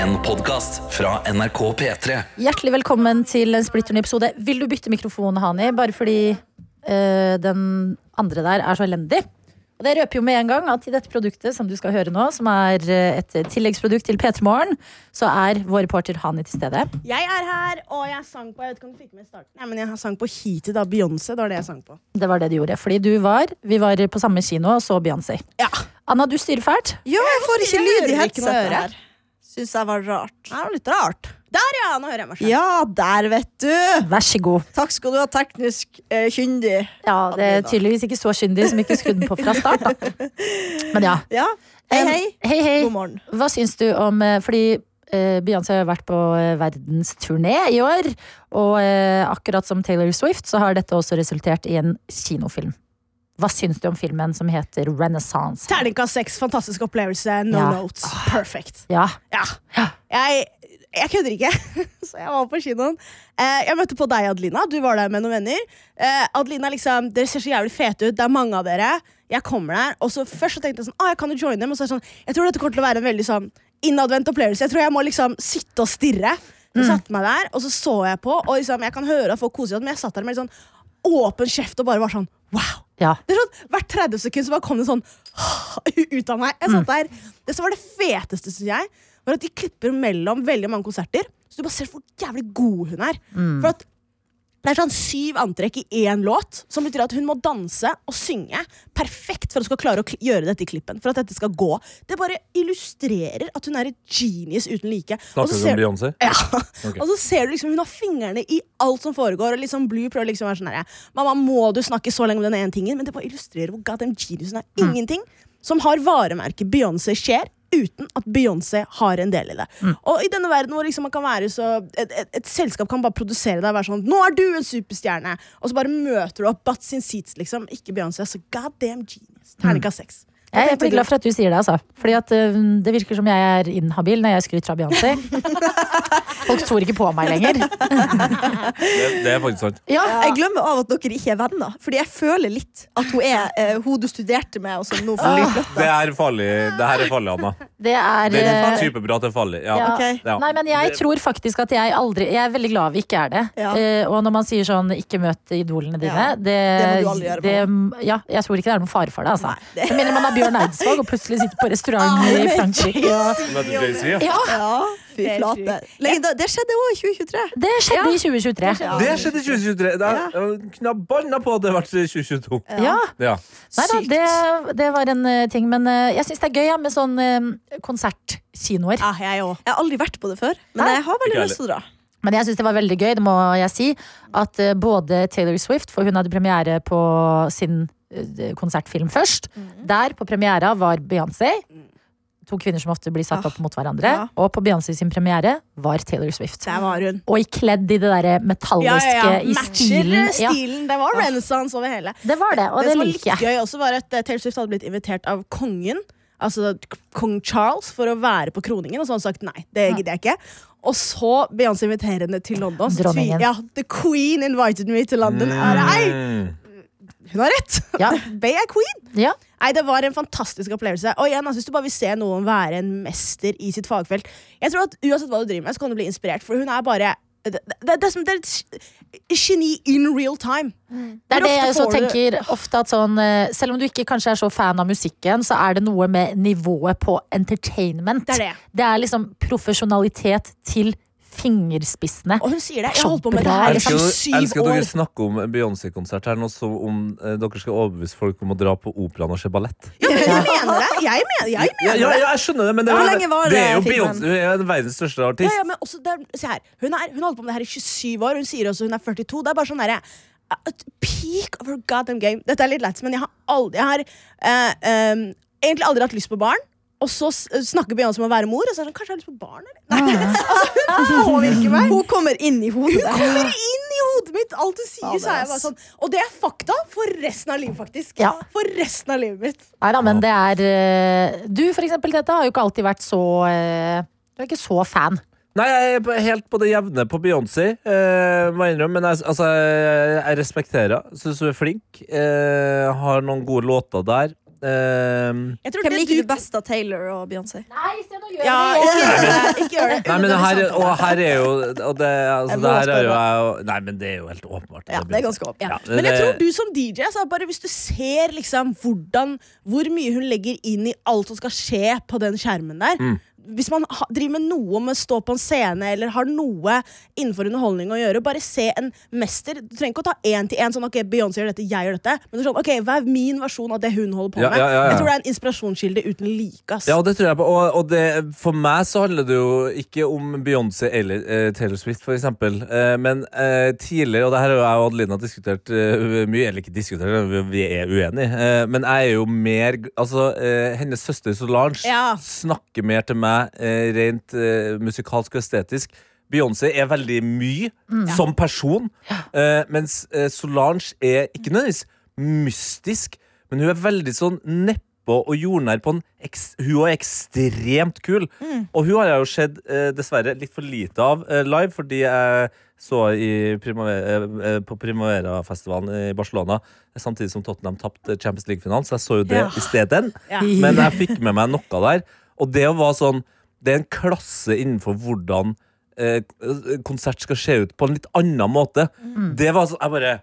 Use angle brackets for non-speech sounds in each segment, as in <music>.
En podcast fra NRK P3 Hjertelig velkommen til en splitter ny episode. Vil du bytte mikrofon, Hani? Bare fordi eh, den andre der er så elendig. Og det røper jo med en gang at i dette produktet som du skal høre nå, som er eh, et tilleggsprodukt til P3 Morgen, så er vår reporter Hani til stede. Jeg er her, og jeg sang på Jeg vet ikke om du fikk med starten Nei, men jeg sang på Heated av Beyoncé. Det var det jeg sang på. Det var det du gjorde. Fordi du var Vi var på samme kino og så Beyoncé. Ja, Anna, du styrer fælt. Ja, jeg får ikke lyd i hører ikke noe headsetet øre. her. Syns jeg var rart. Det er jo litt rart. Der, ja! Nå hører jeg meg selv. Ja, der, vet du! Vær så god. Takk skal du ha, teknisk eh, kyndig. Ja, det er tydeligvis ikke så kyndig som ikke skrudde på fra start, da. <laughs> Men ja. Ja. Hei, hei. Hei, hei. God morgen. Hva syns du om eh, Fordi eh, Beyoncé har vært på eh, verdensturné i år. Og eh, akkurat som Taylor Swift, så har dette også resultert i en kinofilm. Hva syns du om filmen som heter Renaissance? Terningkast seks, fantastisk opplevelse. No Ja. notes. Perfect. Ja. Ja. Jeg, jeg kødder ikke. <laughs> Så jeg var på kinoen. Eh, Jeg møtte på deg, Adelina. Du var der med noen venner. Eh, Adelina, liksom, Dere ser så jævlig fete ut. Det er mange av dere. Jeg kommer der. Og så Først så tenkte jeg sånn, ah, jeg kan jo joine dem. Og så er det sånn, jeg tror dette kommer til å være en veldig sånn innadvendt opplevelse. Jeg tror jeg må liksom sitte og stirre. Så satte jeg meg der, og så så jeg på. Og liksom, Jeg kan høre at folk koser seg, men jeg satt der med litt sånn åpen kjeft og bare var sånn wow. ja. Det er sånn, Hvert 30 sekund så bare kom det sånn <gasps> ut av meg. Jeg Mm. satt der. Det som var det feteste, syns jeg, var at de klipper mellom veldig mange konserter. Så du bare ser hvor jævlig god hun er. Mm. For at det er sånn syv antrekk i én låt, som betyr at hun må danse og synge perfekt for at hun skal klare å kl- gjøre dette i klippen. For at dette skal gå. Det bare illustrerer at hun er et genius uten like. Og så Snakker du ser- om Beyoncé? ja. Og så ser du liksom hun har fingrene i alt som foregår. Og liksom Blue prøver liksom å være sånn her, Mamma, må du snakke så lenge om den ene tingen? Men det bare illustrerer hvor goddamn genius hun er. Mm. Ingenting som har varemerket Beyoncé skjer. Uten at Beyoncé har en del i det. Mm. Og i denne verden hvor liksom man kan være så et, et, et selskap kan bare produsere deg og være sånn 'Nå er du en superstjerne!' Og så bare møter du opp Butts in seats, liksom. Ikke Beyoncé. Så goddamn genius. Terningkast seks. Hva Mm. Jeg er tenkte veldig du? glad for at du sier det. Altså. Fordi at eh, Det virker som jeg er inhabil når jeg skryter av Beyoncé. Folk tror ikke på meg lenger. Det, det er faktisk sant. Ja, Jeg glemmer av at dere ikke er venner, Fordi jeg føler litt at hun er eh, hun du studerte med, og som nå får <laughs> litt Det er farlig, det her er farlig, Anna. Det er Det eh, er superbra at det er farlig. Ja. Ja. Ok. Ja. Nei, men jeg tror faktisk at jeg aldri Jeg er veldig glad vi ikke er det. Ja. Eh, og når man sier sånn 'ikke møt idolene dine', Ja, det, det må du aldri gjøre, det- Ja, jeg tror ikke det er noen fare for det, altså. Jeg mener man har Bjørn Eidsvåg og plutselig sitter på Ah, restaurant i Frankrike. Og... Møter Jay-Z, ja. Ja, Ja, fy Det er flate. sjukt. Legenda, det skjedde òg i 2023. det skjedde i 2023. Det skjedde i 2023. Det er, jeg kunne ha banna på at det har vært 2022. Ja, Ja. nei da, Sykt. det, det var en eh, ting. Men eh, jeg syns det er gøy ja, med sånn eh, konsertkinoer. Ja, jeg òg. Jeg har aldri vært på det før, men Nei. jeg har veldig Ikke lyst til å dra. Men jeg syns det var veldig gøy, det må jeg si, at eh, både Taylor Swift, for hun hadde premiere på sin eh, konsertfilm først. Mm. Der på premiera var Beyoncé. To kvinner som ofte blir satt Ah, opp mot hverandre. ja. Og på Beyoncé sin premiere var Taylor Swift. Der var hun. Og i kledd i det derre metalliske, i Matcher stilen. stilen. Ja, Det var renaissance over hele. det var det, og det det, som var litt liker jeg. gøy også var at eh, Taylor Swift hadde blitt invitert av kongen, altså k- kong Charles, for å være på kroningen, og så hadde han sagt nei, det gidder jeg ikke. Og så Beyoncé inviterer henne til London. Så Dronningen. tvi- Ja, The Queen invited me to London. Nei, Mm. hun har rett! <laughs> Ja. Bey er queen. Ja. Nei, Det var en fantastisk opplevelse. Og igjen, altså, Hvis du bare vil se noen være en mester i sitt fagfelt Jeg tror at Uansett hva du driver med, så kan du bli inspirert. For hun er bare Det, det, det, er som- det er et g- geni in real time. Det er Hvor det ofte jeg også får du- tenker ofte at sånn eh, Selv om du ikke kanskje er så fan av musikken, så er det noe med nivået på entertainment. Det er det. er liksom profesjonalitet til fingerspissene. Og hun sier det. Jeg Så har holdt på med det bra. her i Jeg liksom elsker, jeg syv elsker at år. dere snakker om en Beyoncé-konsert her nå som om eh, dere skal overbevise folk om å dra på operaen og se ballett. Ja, men jeg mener det. Jeg mener, jeg Ja, mener ja, det. ja, jeg skjønner det, men det, Hvor er- lenge var det er jo det filmen? Beyoncé. Hun er verdens største Ja, artist. ja, men også, det er, se her. Hun, er, hun har holdt på med det her i 27 år. Hun sier også hun er 42. Det er bare sånn derre at Peak of her goddamn game. Dette er litt lats, men jeg har, aldri, jeg har eh, em, egentlig aldri hatt lyst på barn. Og så s- snakker Beyoncé om å være mor, og så er det sånn, kanskje jeg har lyst på barn? Eller? <laughs> Altså, Påvirker meg. Hun kommer inn i hodet. Kommer inn i hodet mitt! Alt du sier, Ja, det så er jeg er bare sånn. Og det er fakta for resten av livet, faktisk. Ja. For resten av livet mitt. Nei da, men det er eh, Du, for eksempel, dette har jo ikke alltid vært så eh, Du er ikke så fan. Nei, jeg er på- helt på det jevne på Beyoncé, eh, må jeg innrømme. Men jeg, altså, jeg, jeg respekterer henne. Syns hun er flink. Eh, har noen gode låter der. eh, Jeg tror Hvem det liker du- du best av Taylor og Beyoncé? Nei, se nå gjør Ja, vi ikke gjør det. Ikke gjør det. Nei, men det her, og her er jo og det, altså, Jeg må det her er jo, spørre. jeg- Nei, men det er jo helt åpenbart. Ja, det er ganske åpent. Ja, Men jeg tror det- du som DJ, altså, bare hvis du ser liksom hvordan, hvor mye hun legger inn i alt som skal skje på den skjermen der Mm. Hvis man ha, driver med noe med å stå på en scene eller har noe innenfor underholdning å gjøre, bare se en mester. Du trenger ikke å ta én til én. Sånn, ok, Beyoncé gjør dette, jeg gjør dette. Men det er sånn, ok, Hva er min versjon av det hun holder på Ja, med? ja, ja, ja. Jeg tror det er en inspirasjonskilde uten like. ass. Ja, det tror jeg på. Og, og det, for meg så handler det jo ikke om Beyoncé eller eh, Taylor Swift, for eksempel. Eh, men eh, tidligere, og det her har jo jeg og Adelina diskutert eh, mye, eller ikke diskutert, vi- vi er uenige, eh, men jeg er jo mer g- Altså, eh, hennes søster Solange Ja. snakker mer til meg eh, rent eh, musikalsk og estetisk. Beyoncé er veldig mye som person, eh, mens eh, Solange er ikke nødvendigvis mystisk, men hun er veldig sånn nedpå og jordnær på en eks Hun er ekstremt kul, og hun har jeg jo sett eh, dessverre litt for lite av eh, live, fordi jeg så i Primavera, eh, på Primavera-festivalen i Barcelona, samtidig som Tottenham tapte Champions League-finalen, så jeg så jo det Ja. isteden. Ja. Men jeg fikk med meg noe der. Og det var sånn Det er en klasse innenfor hvordan eh, konsert skal se ut på en litt annen måte. Mm. Det var sånn Jeg bare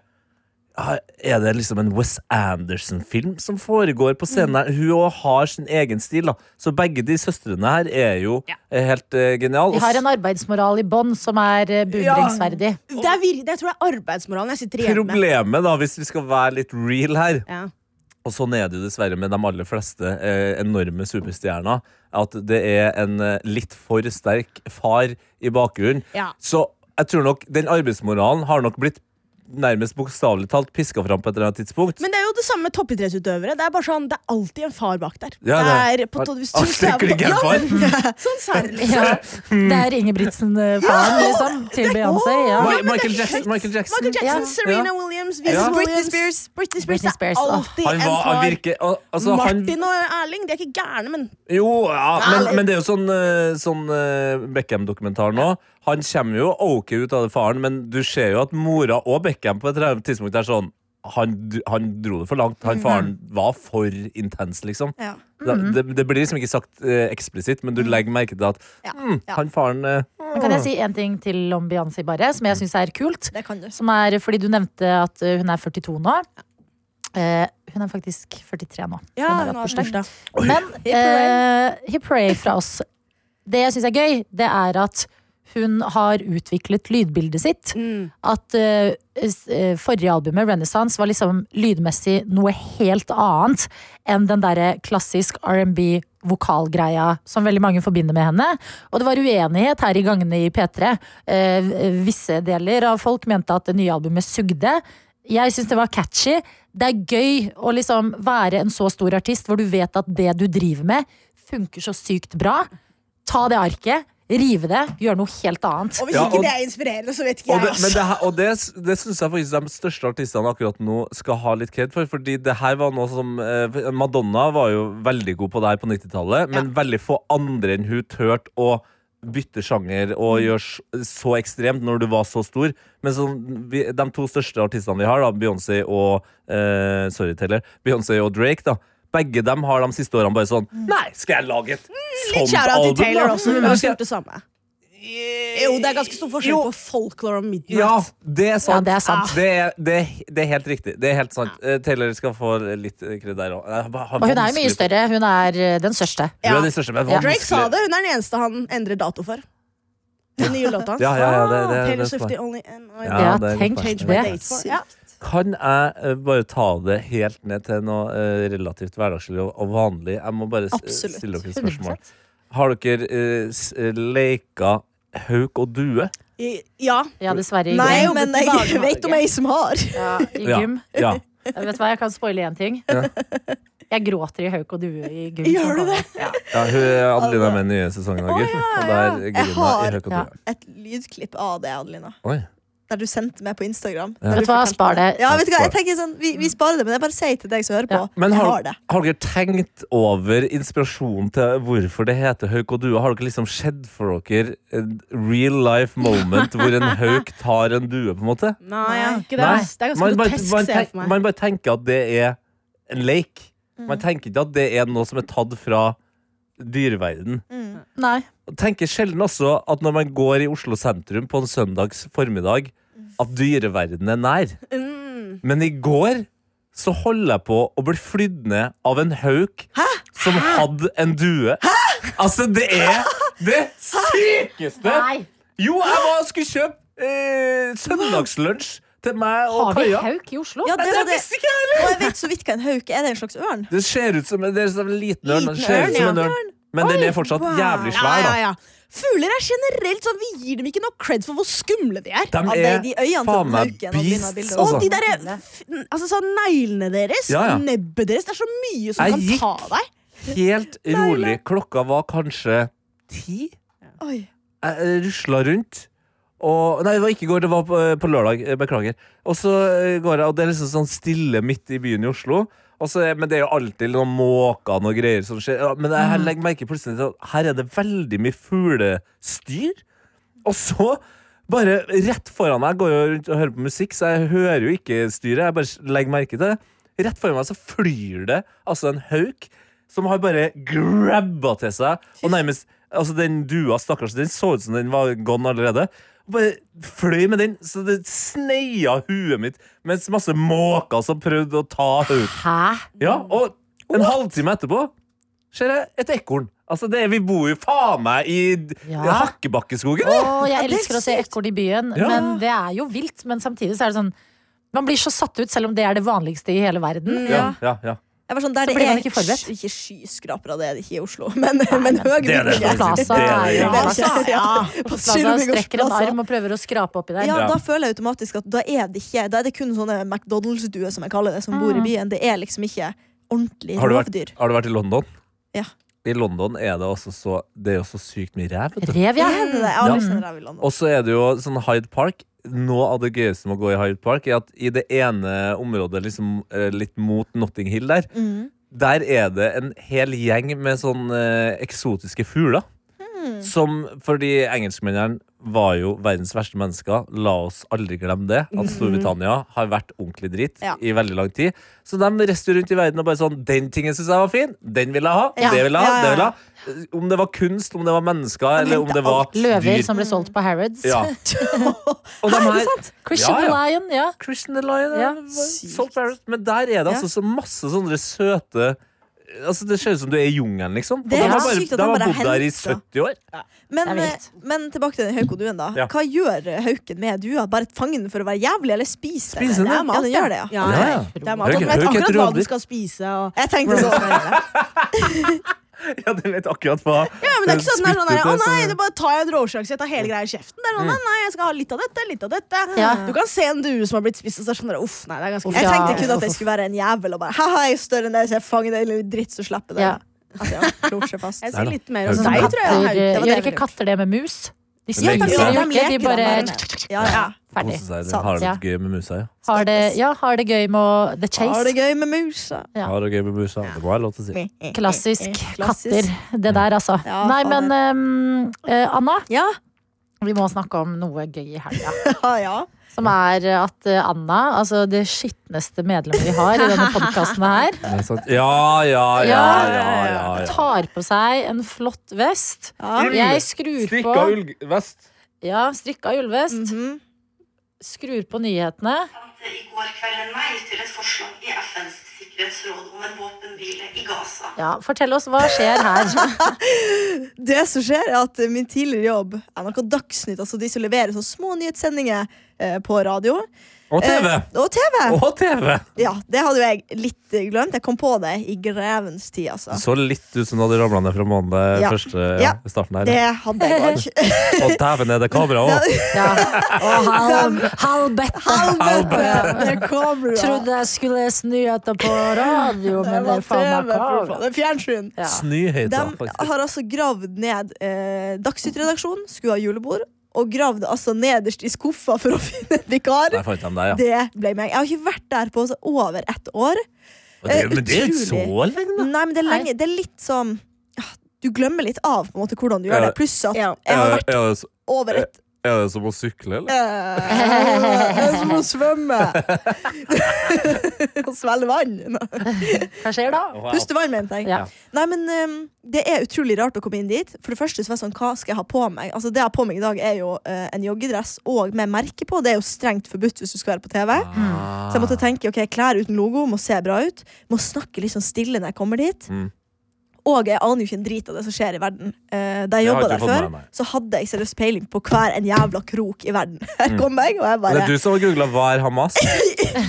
«Ah, er det liksom en Wes Anderson-film som foregår på scenen her? Hun òg har sin egen stil, da. Så begge de søstrene her er jo eh, helt eh, geniale. De har en arbeidsmoral i bånn som er eh, beundringsverdig. Det, er vir det jeg tror jeg er arbeidsmoralen jeg sitter igjen med. Problemet, da, hvis vi skal være litt real her, Ja. Og sånn er det jo dessverre med de aller fleste eh, enorme superstjerner. At det er en eh, litt for sterk far i bakgrunnen. Ja. Så jeg tror nok den arbeidsmoralen har nok blitt nærmest bokstavelig talt piska fram på et eller annet tidspunkt. Men det er jo det samme med toppidrettsutøvere. Det er bare sånn, det er alltid en far bak der. Ja, det det- er på, to- hvis du Astrid ser på- <laughs> Klyngen Ja, far. men- Sånn særlig. <laughs> Ja. Det er Ingebrigtsen-faren, liksom, til Beyoncé. Ja. Ma- Michael, Jackson, Michael Jackson. Michael Jackson, Ja. Serena Ja. Williams, Venus Ja. Britney Williams Spears. Britney Spears. Britney Spears, ah. Det åh. er alltid Han en var far. han virker al- altså, han, Martin og Erling de er ikke gærne, men Jo, ja, Nei. men, men det er jo sånn, eh, sånn eh, Beckham-dokumentar nå. Han kommer jo ok ut av det faren, men du ser jo at mora og Beckham på et eller annet tidspunkt er sånn han, d- han dro det for langt. Han faren var for intens, liksom. Ja. Da- Det, det blir liksom ikke sagt eh, eksplisitt, men du legger merke til at Ja. mm, Ja. han faren eh, Men Kan jeg si en ting til om Beyoncé, bare, som jeg syns er kult? Det kan du. Som er fordi du nevnte at eh, hun er 42 nå. Eh, hun er faktisk 43 nå. for hun har hatt bursdag. Men eh, hip hooray fra oss. Det jeg syns er gøy, det er at hun har utviklet lydbildet sitt. At eh, s- eh, forrige albumet, Renaissance, var liksom lydmessig noe helt annet enn den derre klassisk R&B vokalgreia som veldig mange forbinder med henne. Og det var uenighet her i gangene i P3. Eh, visse deler av folk mente at det nye albumet sugde. Jeg syns det var catchy. Det er gøy å liksom være en så stor artist hvor du vet at det du driver med, funker så sykt bra. Ta det arket, rive det, gjøre noe helt annet. Og hvis Ja, ikke og- det er inspirerende, så vet ikke jeg. Og det, men altså. det, her- og det, s- det syns jeg faktisk de største artistene akkurat nå skal ha litt kred for. Fordi det her var noe som eh, Madonna var jo veldig god på det her på 90-tallet, men veldig få andre enn hun turte å bytte sjanger Mm. og gjøre s- så ekstremt når du var så stor. Men sånn, vi, de to største artistene vi har, da Beyoncé og eh, Sorry, Taylor. Beyoncé og Drake, da. Begge dem har de siste årene bare sånn Nei, skal jeg lage et Mm. Litt sånt kjære til album? Taylor da? også. Hun Eller har skal gjort det samme. Jo, det er ganske stor forskjell Jo. på folklore og midnight. Ja, det er sant. Ja, det er sant. Det, er, det, er- det er helt riktig. Det er helt sant. Eh, Taylor skal få litt kred der òg. Og hun er jo mye større. Hun er eh, den største. Hun Ja. er den største, men Ja. Drake sa vanskelig. det, hun er den eneste han endrer dato for. Den nye låta hans. Ja, ja, ja, det- Ah, det- det Taylor er Swift, smart. the only and I Ja, Ja, det er godt tenk poeng. Change my det. date for. Ja. Kan jeg eh, bare ta det helt ned til noe eh, relativt hverdagslig og, og vanlig? Jeg må bare s- Absolutt. stille dere et spørsmål. 100%. Har dere eh, s- leka hauk og due? I- Ja. Ja, dessverre. I Nei, gym. men jeg <laughs> vet om ei som har. Ja, I Ja. gym. ja. Jeg vet hva, jeg kan spoile én ting. Jeg gråter i hauk og due i gym. Gjør du det? Ja. ja hun, Adeline er med i den nye sesongen av Å, Gull. ja, ja. Og der Jeg griner har- i hauk og ja. due. Et lydklipp av det, Adelina. Oi. Der du sendte meg på Instagram. Ja. Der Vet du hva, fortalte spar meg. det. Ja, vet du hva? Jeg tenker sånn, vi, vi sparer det, men jeg bare sier til deg som hører på. Ja. Men jeg har, har det. har dere tenkt over inspirasjonen til hvorfor det heter hauk og due? Har dere liksom sett for dere en real life moment hvor en hauk tar en due, på en måte? Nei, jeg har ikke det. Nei. ass. Det er ganske Man bare, grotesk, man, ser jeg tenk, for meg. man bare tenker at det er en lek. Mm. Man tenker ikke at det er noe som er tatt fra dyreverden. Nei. Og tenker sjelden også at når man går i Oslo sentrum på en søndags formiddag, at dyreverdenen er nær. Mm. Men i går så holdt jeg på å bli flydd ned av en hauk som hadde en due. Altså, det er det sykeste! Nei. Jo, jeg var, skulle kjøpe eh, søndagslunsj til meg og Har vi Kaja. hauk i Oslo? Ja, Nei, det det var det. visste ikke jeg Og jeg vet så vidt hva en hauk er. Er det en slags ørn? Det ser ut som en, det er sånn en liten ørn. Den Liten ser ørn, ut som en ja. ørn. Men den er fortsatt wow. jævlig Ja, svær, ja, da. ja. Fugler er generelt sånn Vi gir dem ikke noe cred for hvor skumle de er. De Ja, er de øynene til faen meg hauken og dine beasts, bilder. Og de altså. der, f- altså sånn Neglene deres, Ja, ja. nebbet deres, det er så mye som Jeg kan gikk- ta <laughs> deg. Helt rolig. Klokka var kanskje ti. Oi. Jeg rusla rundt. Og, nei, det var ikke i går, det var på, på lørdag. eh, Beklager. Og så eh, går jeg, og det er liksom sånn stille midt i byen i Oslo. Og så, er- men det er jo alltid noen måker og greier som skjer. Ja, Men jeg legger merke plutselig til at her er det veldig mye fuglestyr. Og så, bare rett foran meg, jeg går jo rundt og hører på musikk, så jeg hører jo ikke styret. Jeg bare legger merke til det. Rett foran meg så flyr det altså en hauk som har bare grabba til seg. Og nærmest altså Den dua, stakkars, den så ut som den var gone allerede. Og bare fløy med den, så det sneia huet mitt mens masse måker som prøvde å ta hauken. Hæ? Ja, og en halvtime etterpå ser jeg et ekorn. Altså, det, vi bor jo faen meg i d- Ja. Hakkebakkeskogen. Å, vi. jeg det er elsker å se sykt. ekorn i byen, Ja. men det er jo vilt. Men samtidig så er det sånn Man blir så satt ut, selv om det er det vanligste i hele verden. Mm, Ja, ja, ja. Jeg var sånn, der Så det blir man er ikke forberedt. Ikke skyskrapere, det er det ikke i Oslo, <laughs> men, men høy det er det. bygning. Plaza Det er er det. jo Altså, Plaza. Ja. På Plaza strekker en arm og prøver å skrape oppi der. altså. Ja, Ja. da føler jeg automatisk at da er det ikke Da er det kun sånne McDonald's-duer som jeg kaller det, som bor Ah. i byen. Det er liksom ikke ordentlig Har, du vært, rovdyr. har du vært i London? Ja. I London er det også så Det er jo så sykt mye ræv. vet du. Rev, ja. Er det det? Jeg har aldri sett rev i London. Og så er det jo sånn Hyde Park. Noe av det gøyeste med å gå i Hyde Park, er at i det ene området liksom, eh, litt mot Notting Hill der, Mm. der er det en hel gjeng med sånn eh, eksotiske fugler. Hmm. Som fordi engelskmennene var jo verdens verste mennesker. La oss aldri glemme det. At Storbritannia har vært ordentlig dritt Mhm. Ja. i veldig lang tid. Så de reiste rundt i verden og bare sånn Den tingen syns jeg var fin. Den vil jeg ha. Ja. Det vil jeg ha. Ja, ja, Det vil jeg ha. Om det var kunst, om det var mennesker, eller om henter det var Løver dyr. som ble solgt på Harrods. Ja. <laughs> Og de her Christian Ja, ja. the Lion, ja. Christian the Lion Ja. eh, Salt Barrett. Men der er det altså så masse sånne søte Altså Det ser ut som du er i jungelen, liksom. Og Det er de har helt bare, sykt at de han har bare bodd der i henter. 70 år. Men, Det er vilt. eh, men tilbake til den haukoduen, da. Ja. Hva gjør eh, hauken med dua? Bare fange den for å være jævlig, eller spise Spiser den? den? Det Ja, er mat, den gjør det, ja. Ja, ja. Det er mat. Høy- De vet høy akkurat hva kjøttråd. de skal spise. Og... Jeg tenkte sånn. <laughs> Ja, den vet akkurat hva Ja, men det er ikke sånn, det er sånn der, spyttet Å som- nei, det bare tar jeg en råsjanse, jeg tar Mm. hele greia i kjeften. Det er sånn, nei, nei, jeg skal ha litt av dette, litt av dette. Ja. Du kan se en due som har blitt spist, og så er det sånn der, uff, nei, det er ganske Jeg Ja. tenkte kun at jeg skulle være en jævel og bare Haha, jeg er større enn deg, så jeg fanger deg lille dritt, så slapper jeg ja. deg. At jeg klor seg <laughs> fast. Jeg Nei da. sier litt mer om Høy- Sånn deg, Nei, eh, tror jeg. katter, Hauk. Det var det gjør jeg ikke ville gjort. katter det med mus? De Ja, spiser de jo gjør ikke, det. de leker bare den der. Ja, ja. ferdig. Kose seg, Sant, har det ja. gøy med musa, ja. Har det, ja, har det gøy med å The Har det Chase. gøy med musa. Eh, Ja. Har det gøy med musa. Det må jeg ha lov til å si. Klassisk Klassisk. katter, det der, altså. Ja, Nei, fader. men ehm, eh, Anna, Ja, vi må snakke om noe gøy i helga. ja, ja. Som er at eh, Anna, altså det skitneste medlemmet vi har i <laughs> denne podkasten her, Det er sant. Ja, ja, ja. ja, ja, ja. tar på seg en flott vest. Ja. Jeg skrur på ullvest. Ja, strikka ullvest. Mhm. Skrur på nyhetene. at i går kveld en vei til et forslag i FNs sikkerhetsråd om en våpenhvile i Gaza. Ja, fortell oss hva skjer her. Det som skjer, er at min tidligere jobb, NRK Dagsnytt, altså de som leverer sånne små nyhetssendinger eh, på radio Og TV! eh, Og TV! Og TV! Ja, det hadde jo jeg litt eh, glemt. Jeg kom på det i grevens tid, altså. Det så litt ut som du hadde ramla ned fra månen det Ja. første Ja. starten her. Det hadde jeg òg. <laughs> Og dæven er det kamera òg! Ja. Og halv, halv Helvete! Det kommer jo. Trodde jeg skulle lese nyheter på radio, Det men det var er faen TV, meg for kabel. faen. Det er fjernsyn. Ja. Snøhøyta, De faktisk. har altså gravd ned eh, Dagsnytt-redaksjonen, skulle ha julebord, og gravd altså nederst i skuffa for å <laughs> finne en vikar. Der fant de deg, ja. Det ble meg. Jeg har ikke vært der på altså, over ett år. Og det, men det er jo ikke utrolig. så lenge, da! Nei, men det er, lenge, det er litt sånn ah, Du glemmer litt av på en måte hvordan du gjør Ja. det. Pluss at Ja. jeg har vært Ja, ja, så- over et eh, Er det som å sykle, eller? <laughs> Det er som å svømme. <laughs> <laughs> Og svelge vann. Nei. Hva skjer da? Wow. Puste vann, mente jeg. Ja. Nei, men ehm, Det er utrolig rart å komme inn dit. For det første så var jeg sånn, Hva skal jeg ha på meg? Altså Det jeg har på meg i dag, er jo eh, en joggedress og med merke på. Det er jo strengt forbudt hvis du skal være på TV. Mm. Så jeg Ah. måtte tenke ok, klær uten logo må se bra ut. Må snakke litt sånn stille når jeg kommer dit. Mm. Og jeg aner jo ikke en drit av det som skjer i verden. Eh, da jeg Det har jobba jeg der ikke fått før, med meg. så hadde jeg seriøst peiling på hver en jævla krok i verden. <laughs> Her kom jeg, og jeg Mm. Det bare er du som har googla 'hva er Hamas'?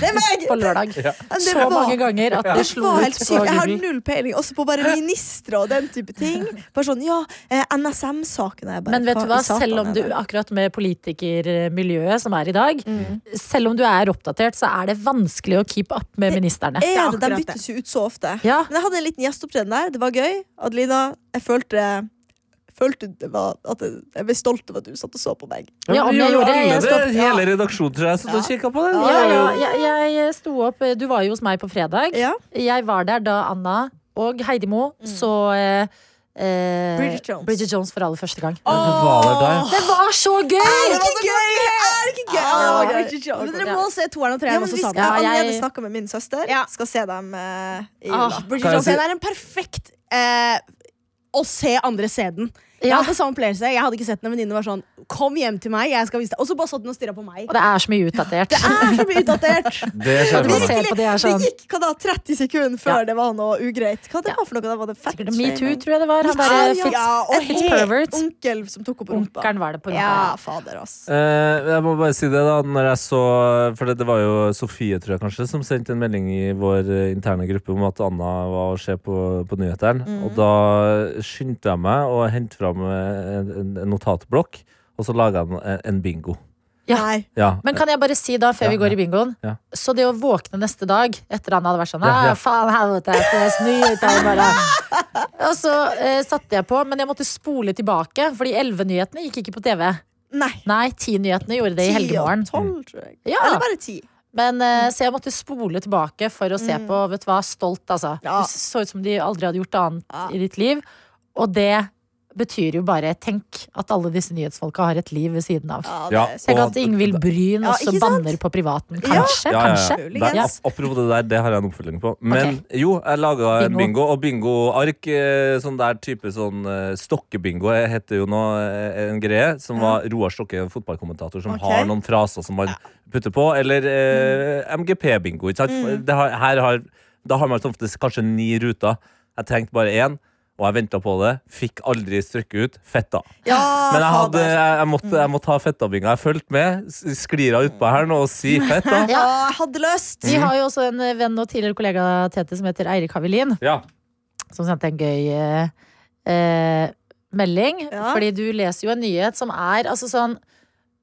Det er meg! På lørdag. Men det Så var- mange ganger at det Det slo var ut helt sykt. på Jeg har Google. null peiling. Også på bare ministre og den type ting. Bare sånn, ja, eh, NSM-saken er jeg bare Men vet du hva, i satan selv om er du, det? akkurat med politikermiljøet som er i dag, Mm. selv om du er oppdatert, så er det vanskelig å keep up med ministerne. er Ja, det, De akkurat det. byttes jo ut så ofte. Ja. Men jeg hadde en liten gjesteopptreden der. Det var gøy. Adelina, jeg følte Følte det var at jeg, jeg ble stolt over at du satt og så på meg. Ja, om jeg gjorde det, jeg det. stopp- Hele redaksjonen tror jeg satt og kikka på det. Ja, ja, jeg, jeg sto opp Du var jo hos meg på fredag. Ja. Mm. Jeg var der da Anna og Heidi Mo så eh, eh, Bridget Jones. Bridget Jones for aller første gang. Ja, det var vel der. Det var så gøy! Er det ikke gøy? Er det ikke gøy? Ah, Ja, Bridget Jones. Men dere må se toeren og Ja, treeren men også vi Ja, skal, jeg jeg- har jeg- Ah. allerede snakka med min søster. Ja. Skal se dem eh, i jula. sammen. Bridget Kan jeg Jones si- Den er en perfekt eh, å se andre se den. Jeg Ja. hadde samme opplevelse. Jeg hadde ikke sett den. En venninne var sånn Kom hjem til meg, jeg skal vise deg. Og så bare satt den og stirra på meg. Og det er så mye utdatert. Det er så mye utdatert. <laughs> Det skjer Man med meg. ser på det er sånn Det gikk hva da, 30 sekunder før det var noe ugreit. Hva det Ja. var for noe? Da var det fat Sikkert Metoo, shaming. tror jeg det var. Han Litt derre sånn, ja. Fitz, Ja, og Fitz helt pervert. Onkel som tok opp rumpa. Onkelen var det på rumpa. Ja, fader, ass. Eh, jeg må bare si det, da. Når jeg så For det, det var jo Sofie, tror jeg kanskje, som sendte en melding i vår eh, interne gruppe om at Anna var å se på, på nyhetene. Mm. Og da skyndte jeg meg å hente fram eh, en, en- en notatblokk, og så laga jeg en, en bingo. Ja. Nei. Ja. Men kan jeg bare si da, før Ja, vi går ja. i bingoen Ja. Så det å våkne neste dag etter han hadde vært sånn Ja, ja. «Ah, faen helvete, jeg skal snu ut her bare Og så eh, satte jeg på, men jeg måtte spole tilbake Fordi 11-nyhetene gikk ikke på TV Nei. Nei, 10-nyhetene gjorde det i 10 og helgemorgen 12, tror jeg. Ja. Eller bare 10. men, eh, Så jeg måtte spole tilbake for å se på Vet du hva, stolt altså Ja. Det så ut som de aldri hadde gjort annet Ja. i ditt liv Og det betyr jo bare Tenk at alle disse nyhetsfolka har et liv ved siden av Ja, Ja, det er og- Tenk at Ingvild Bryn Ja, også ikke sant? banner på privaten Ja. Kanskje, Ja, ja, ja. kanskje Det er, Ja. ap- apropos det der, det har jeg en oppfølging på. Men jo, jeg laga en bingo, og bingoark, eh, sånn der type sånn eh, stokkebingo, eh, heter jo nå eh, en greie, som var Roar Stokke, en fotballkommentator, som Ok. har noen fraser som man putter på. Eller eh, Mm. MGP-bingo, ikke sant. Det har, her har, da har man som oftest kanskje ni ruter. Jeg trengte bare én. Og jeg venta på det. Fikk aldri strøkket ut. Fetta. Ja, Men jeg, hadde, fader. Mm. jeg, jeg, måtte, jeg måtte ha fettabinga. Jeg fulgte med. s- Sklira utpå her nå <laughs> og si fetta. Ja, jeg hadde løst. Vi har jo også en eh, venn og tidligere kollega Tete som heter Eirik Havelin, Ja. som sendte en gøy eh, eh, melding. Ja. Fordi du leser jo en nyhet som er altså sånn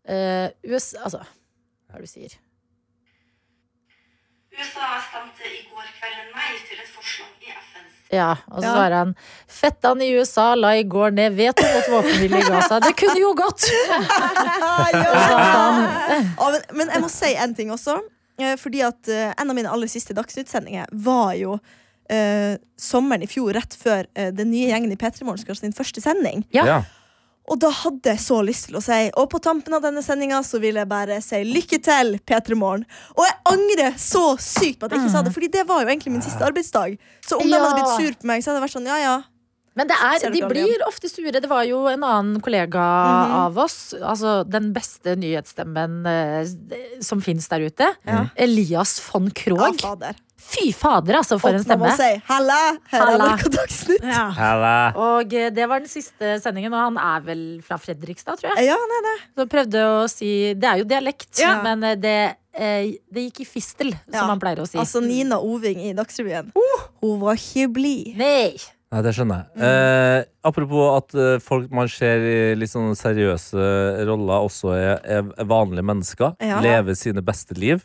eh, US, Altså, hva er det du sier? USA stemte i går kveld nei til et forslag i FNs Ja, og så Ja. svarer han Fettan i USA la i går ned veto mot våpenhvile i Gaza. Det kunne jo gått! <laughs> ja. Ja, men, men jeg må si en ting også. eh, Fordi at eh, En av mine aller siste Dagsnytt-sendinger var jo eh, sommeren i fjor, rett før eh, den nye gjengen i P3 Morgen skulle ha sin første sending. Ja. Ja. Og da hadde jeg så lyst til å si Og på tampen av denne sendinga så vil jeg bare si lykke til, P3 Morgen. Og jeg angrer så sykt på at jeg ikke sa det, Fordi det var jo egentlig min siste arbeidsdag. Så om de hadde blitt Mm. Ja. sur på meg, så hadde jeg vært sånn ja ja. Men det Ser er, du de ikke aldri blir ofte sure. Det var jo en annen kollega Mhm. av oss, altså den beste nyhetsstemmen eh, som fins der ute, Elias von ja Krogh. fader. Fy fader, altså, for en Opp når stemme. man sier halla, her er Halla. NRK <laughs> Dagsnytt. Ja. Hele. Og eh, det var den siste sendingen, og han er vel fra Fredrikstad, tror jeg. Ja, nei, nei. Så prøvde å si Det er jo dialekt, Ja. men eh, det, eh, det gikk i fistel, som Ja. han pleier å si. Altså Nina Oving i Dagsrevyen. Uh. Hun var ikke blid. Nei! Nei, det skjønner jeg. Eh, apropos at eh, folk man ser i litt sånne seriøse roller, også er, er vanlige mennesker. Ja. Lever sine beste liv.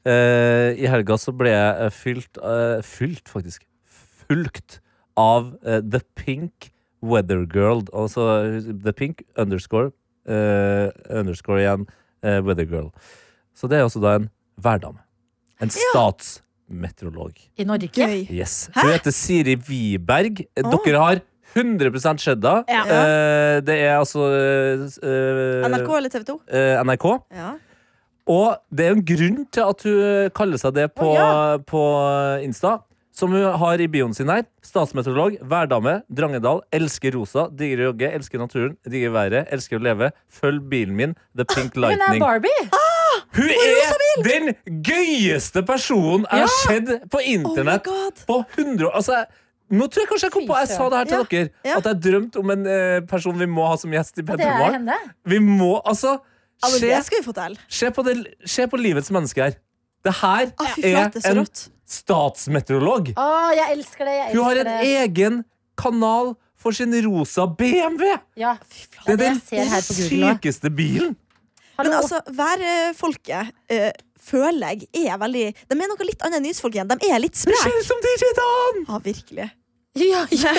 Eh, I helga så ble jeg eh, fylt eh, Fylt, faktisk. Fulgt av eh, The Pink Weather Girl. Altså The Pink underscore eh, underscore igjen eh, Weather Girl. Så det er også da en værdame. En statsmeteorolog. I Norge. Gøy. Yes. Hun heter Siri Wiberg. Dere har 100 cheddar. Ja. Eh, det er altså eh, NRK eller TV 2? eh, NRK. Ja. Og det er en grunn til at hun kaller seg det på, Å, på Insta. Som hun har i bioen sin her. Statsmeteorolog, værdame, Drangedal. Elsker rosa, digger å jogge, elsker naturen, digger været, elsker å leve. Følg bilen min, The Pink Hun er Lightning. Barbie! Hun er den gøyeste personen jeg har sett på internett Oh God. på 100 år. Altså, jeg- nå tror jeg kanskje jeg kom på Jeg sa det her til Ja, dere. ja. At jeg drømte om en eh, person vi må ha som gjest i Det er Petromorgen. henne. Vi må, altså Ja, men se- det skal vi få til. Se på, det, se på livets menneske her. Det her Ah, fy flate, så er en rått. statsmeteorolog. Å, jeg elsker det! Jeg Hun har elsker en e- det. egen kanal for sin rosa BMW! Ja, Det det er er det den jeg ser her på Google nå. sykeste bilen! Men Hallo. altså, <laughs> værfolket eh, føler jeg er veldig De er noe litt annet enn nyhetsfolk igjen. De er litt Det ser spreke. ut som DJ Dan! Ja, virkelig. Ja, ja.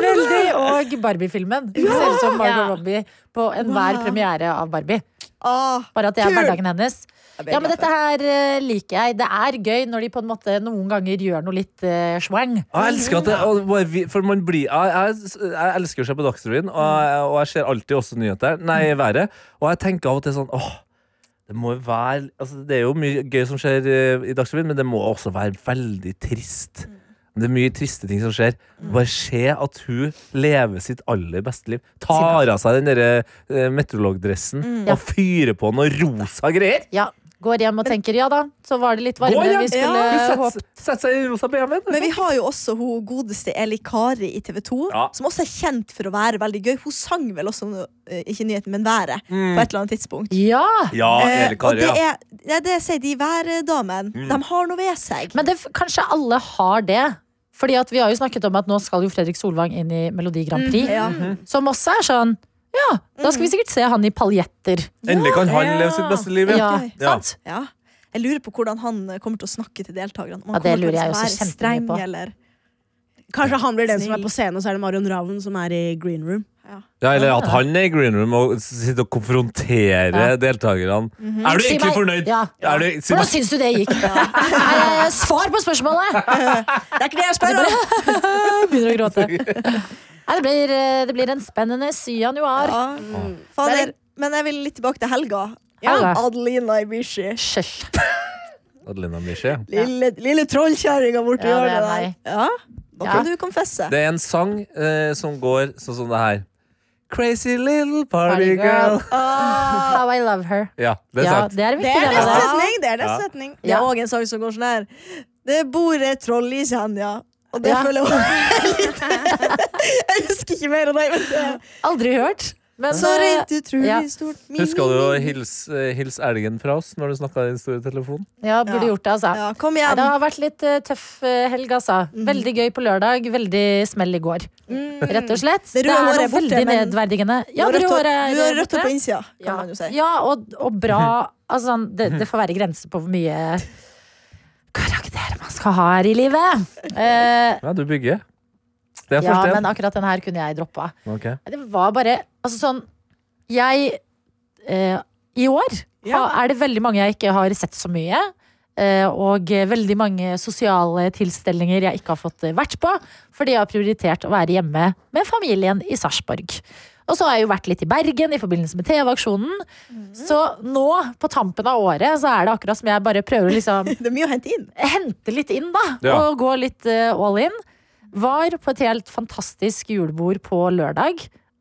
Veldig. Og Barbie-filmen. Hun ser ut som Margot Ja. Robbie på enhver Wow. premiere av Barbie. Ah, Bare at det er Kul. hverdagen hennes. jeg blir Ja, men glad for dette her eh, liker jeg. Det er gøy når de på en måte noen ganger gjør noe litt uh, swang. Jeg elsker at det, og bare vi- for man blir, jeg, jeg, jeg elsker å se på Dagsrevyen, og, Mm. jeg- og jeg ser alltid også nyheter. Nei, været. Og jeg tenker av og til sånn åh, det må jo være altså, Det er jo mye gøy som skjer eh, i Dagsrevyen, men det må også være veldig Mm. trist. Det er mye triste ting som skjer. Bare se at hun lever sitt aller beste liv. Tar av seg den derre eh, meteorologdressen Mm. og fyrer på noe rosa greier. Ja, Går hjem og tenker ja da, så var det litt varme. Går hjem. Vi skulle Hun håpe setter setter seg i den rosa BMW-en. Men vi har jo også hun godeste Eli Kari i TV 2, Ja. som også er kjent for å være veldig gøy. Hun sang vel også, eh, ikke nyheten, men været, på et eller annet tidspunkt. Ja! Mm. Ja, Eh, Eli Kari. og det, Ja. Mm. er, ja, det sier de værdamene. De har noe ved seg. Men det, kanskje alle har det. Fordi at vi har jo snakket om at nå skal jo Fredrik Solvang inn i Melodi Grand Prix. Som også er sånn Ja, da skal vi sikkert se han i paljetter. Endelig kan han leve sitt beste liv. Ja, ok. Ja. sant? ja. Jeg lurer på hvordan han eh, kommer til å snakke til deltakerne. Om han Ja, det kommer til lurer jeg å liksom også være kjempemye streng, på. Eller, Kanskje han blir den som Snill. er på scenen, og så er det Marion Ravn som er i green room. Ja, eller at han er i green room og sitter og konfronterer Ja. Mhm. deltakerne. Er du Si egentlig meg- fornøyd? Ja. Er du, si Hvordan meg, syns du det gikk? Nei, eh, Svar på <laughs> spørsmålet! det er <laughs> ikke det jeg Altså, spør om! Begynner å <laughs> gråte. Nei, det, blir, eh, det blir en spennende januar. Ja. Faen, jeg, men jeg vil litt tilbake til helga. Mm. Ja. Adelina Ibishi. Sjøsj. Adelina Miche? Lille, lille trollkjerringa borti Ja, det er hjørnet der. Ja, da kan du konfesse. Det er en sang eh, som går sånn som det her. Crazy little Party party girl. girl. <laughs> Ah, How I love her. Ja, det er Ja, sant. det er en Det viktig del er av neste det. setning. Det er neste Ja. setning. Det er Ja. òg en sang som går sånn her. Det bor et troll i Senja. Og det Ja. føler jeg også er litt <laughs> Jeg husker ikke mer av det. Men det er Aldri hørt. Men så eh, rent utrolig ja. stort. Husker du å hilse eh, hilse elgen fra oss når du snakka i den store telefonen? ja, burde Ja. gjort det, altså. Ja, Mhm. kom Nei, igjen. Det har vært litt eh, tøff eh, helg, altså. Veldig gøy på lørdag, veldig smell i går. Rett og slett. Mm. Det røde er håret noe er borte, veldig men- nedverdigende. Ja, du det har røde rødt håret hår- du har er rødt hår borte. på innsida, kan Ja, man jo si. ja og, og bra altså, sånn, det, det får være grenser på hvor mye karakter man skal ha her i livet. Eh, Ja, du bygger. Det er ja, først men en. akkurat den her kunne jeg droppa. Ok. Nei, Det var bare Altså sånn Jeg eh, I år Ja. ha- er det veldig mange jeg ikke har sett så mye. eh, og eh, veldig mange sosiale tilstelninger jeg ikke har fått eh, vært på. Fordi jeg har prioritert å være hjemme med familien i Sarpsborg. Og så har jeg jo vært litt i Bergen i forbindelse med TV-aksjonen. Så nå, på tampen av året, så er det akkurat som jeg bare prøver å liksom Det er mye å hente inn. hente litt inn, da. Ja. Og gå litt eh, all in. Var på et helt fantastisk julebord på lørdag.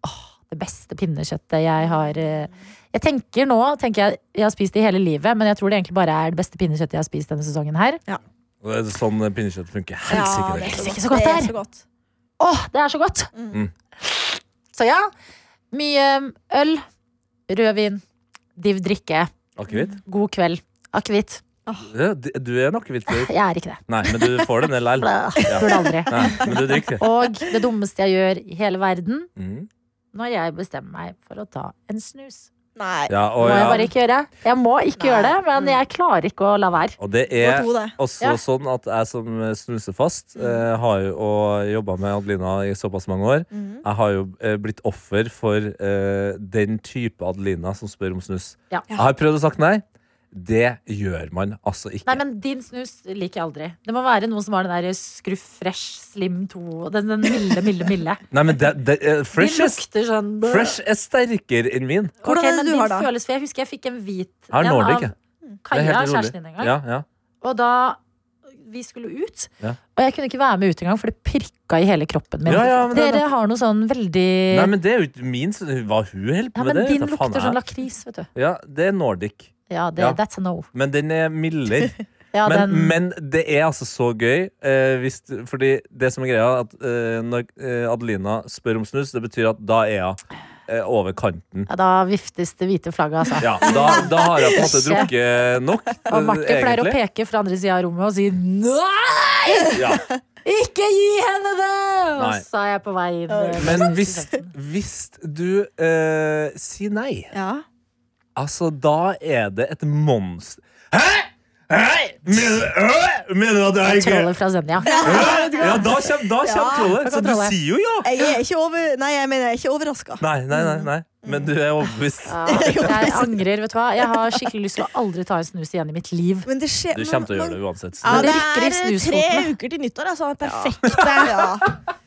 Åh, det beste pinnekjøttet jeg har eh, Jeg tenker nå tenker jeg, jeg har spist det hele livet, men jeg tror det egentlig bare er det beste pinnekjøttet jeg har spist denne sesongen her. Og Det er sånn eh, pinnekjøtt funker. Helsike, det. Helsike, er så godt det det er er. så godt. Åh, det er så godt! Mm. Så ja. Mye eh, øl, rødvin, div drikke, Akevitt? god kveld. Akevitt. Ja, d- Du er en akevitt. du. Jeg er ikke det. Nei, men du får det ned likevel. Ja. Burde aldri. Nei, Men du drikker det. Og det dummeste jeg gjør i hele verden, Mm. når jeg bestemmer meg for å ta en snus. Nei. Ja, og, må jeg ja. bare ikke gjøre. Jeg må ikke gjøre det, men jeg klarer ikke å la være. og det er Godt hode. Også Ja. Mm. sånn at jeg som snuser fast, eh, har jo og jobba med Adelina i såpass mange år. Mm. Jeg har jo eh, blitt offer for eh, den type Adelina som spør om snus. Ja. Jeg har prøvd å sagt nei. Det gjør man altså ikke. Nei, men din snus liker jeg aldri. Det må være noen som har den der Scruff Fresh Slim 2. Den, den milde, milde, <laughs> milde. Nei, men det, det, eh, fresh, den er, lukter sånn fresh er sterkere enn min. Ok, Hvordan er det men du din har da? Føles, for jeg husker jeg fikk en hvit Jeg har en Nordic, jeg. av Det er Kaja, helt utrolig. kjæresten din, en gang. Ja, ja. Og da vi skulle ut, Ja. og jeg kunne ikke være med ut engang, for det pirka i hele kroppen min. Ja, ja, men det- Dere har noe sånn veldig Nei, men det er jo ikke min s- Hva hun holder ja, på med, men det din vet jeg faen lukter sånn jeg. lakris, vet du. Ja, det er Nordic. Ja, det, Ja. that's a no. Men den <laughs> er mildere. Ja, men, den, men det er altså så gøy. Eh, hvis, du- fordi det som er greia, er at eh, når eh, Adelina spør om snus, det betyr at da er hun eh, over kanten. ja, da viftes det hvite flagget, altså. Ja, da, da har jeg på en måte Ikke. drukket <laughs> nok. eh, Og Martin pleier å egentlig. peke fra andre sida av rommet og si nei! Ja. Ikke gi henne det! Og Nei. så er jeg på vei inn. eh, <laughs> Men mot hvis, studenten. hvis du eh, sier nei, Ja. altså da er det et monster Hæ?! Hæ? Mener, øh? mener du at jeg ikke Trollet fra Zenia. Hæ? Ja, da kommer, da kommer trollet. da Så kommer du trollet. sier jo ja. Jeg er ikke over... Nei, jeg mener, jeg er ikke overraska. Nei, nei, nei, nei. Men du er overbevist. <laughs> Ja, jeg angrer, vet du hva. Jeg har skikkelig lyst til å aldri ta en snus igjen i mitt liv. Men det skjer <laughs> Du kommer til å gjøre det uansett. Ja, Men det det rykker i er tre snuskotene. uker til nyttår. Altså. Perfekt, Ja.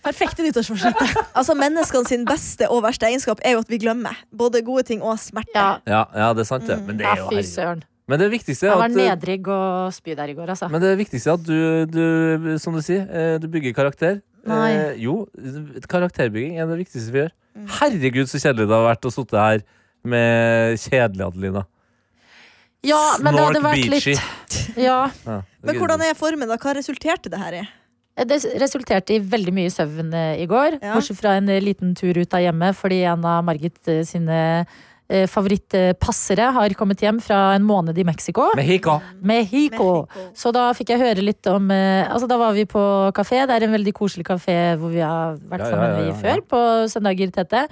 perfekte nyttårsforsett. Altså, menneskene sin beste og verste egenskap er jo at vi glemmer både gode ting og smerte. Ja, Ja, ja, det er sant, det. Men det Mm. ja er jo fy herregud. søren. Men det viktigste Jeg er var at eh, nedrigg og spy der i går, altså. men det viktigste er at du, du, som du sier, eh, du bygger karakter. Nei. Mm. Eh, jo, karakterbygging er det viktigste vi gjør. Herregud, så kjedelig det har vært å sitte her med kjedelig Adelina. Ja, men det hadde vært Beachy. litt Ja. Ja, Men hvordan er formen, da? Hva resulterte det her i? Eh, Det resulterte i veldig mye søvn eh, i går. Ja. Bortsett fra en eh, liten tur ut av hjemmet fordi en av Margit eh, sine eh, favorittpassere har kommet hjem fra en måned i Mexico. Mexico. Mexico. Mexico. Så da fikk jeg høre litt om eh, Altså Da var vi på kafé. Det er en veldig koselig kafé hvor vi har vært Ja, ja, sammen ja, vi ja, ja. før, på søndager tette.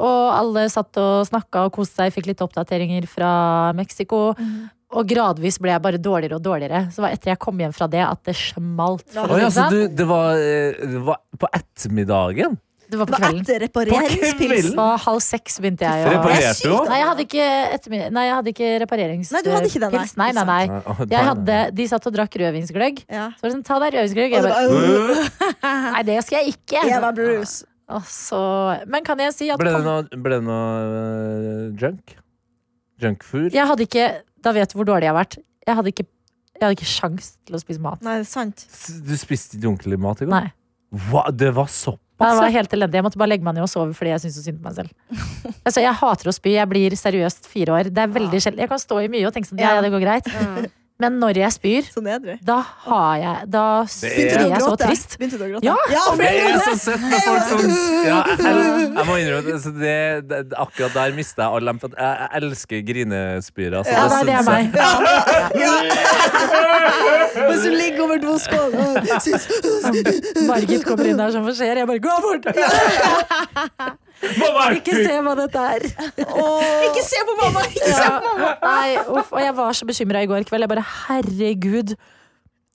Og alle satt og snakka og koste seg, fikk litt oppdateringer fra Mexico. Mhm. Og gradvis ble jeg bare dårligere og dårligere. Så det var etter jeg kom hjem fra det at det smalt. for å Å si ja, det så sånn. du, det var, eh, det var på ettermiddagen? Det var på Det var kvelden. etter repareringspils. kvelden? På halv seks begynte jeg å Reparerte du òg? Nei, jeg hadde ikke, ettermid- nei, jeg hadde ikke repareringspils. Nei, du hadde ikke det, nei. nei. nei, nei. Jeg hadde, de satt og drakk rødvinsgløgg. Ja. Så var det sånn, ta deg rødvinsgløgg. Jeg Og det bare, var- nei, det skal jeg ikke. Jeg var brus. Og så- men kan jeg si at Ble det noe, ble det noe eh, junk? Junkfood? Jeg hadde ikke Da vet du hvor dårlig jeg har vært. Jeg hadde ikke, jeg hadde ikke sjans til å spise mat. Nei, det er sant. S- Du spiste ikke ordentlig mat i går? Nei. Hva? Det var Jeg såpass? var ja? helt elendig. Jeg måtte bare legge meg ned og sove fordi jeg syns så synd på meg selv. Altså, jeg hater å spy. Jeg blir seriøst fire år. Det er veldig sjelden. Jeg kan stå i mye og tenke sånn, ja, ja, det går greit. Men når jeg spyr, Så nedrig. Da har jeg Da blir Begynte du å jeg så trist. Begynte du å gråte? Ja. Det men- er så søtt med folk som ja, jeg, jeg må innrømme at det, det, det, akkurat der mista jeg all dem. Jeg, jeg elsker grinespyrer. så Ja, nei, det er synes jeg- meg. <laughs> Mens du ligger over doskålen. Margit kommer inn her som hva skjer? Jeg bare 'gå bort'! Ikke se hva dette er. Ikke se på mamma! Ja. Nei, uff. Og jeg var så bekymra i går kveld. Jeg bare 'herregud,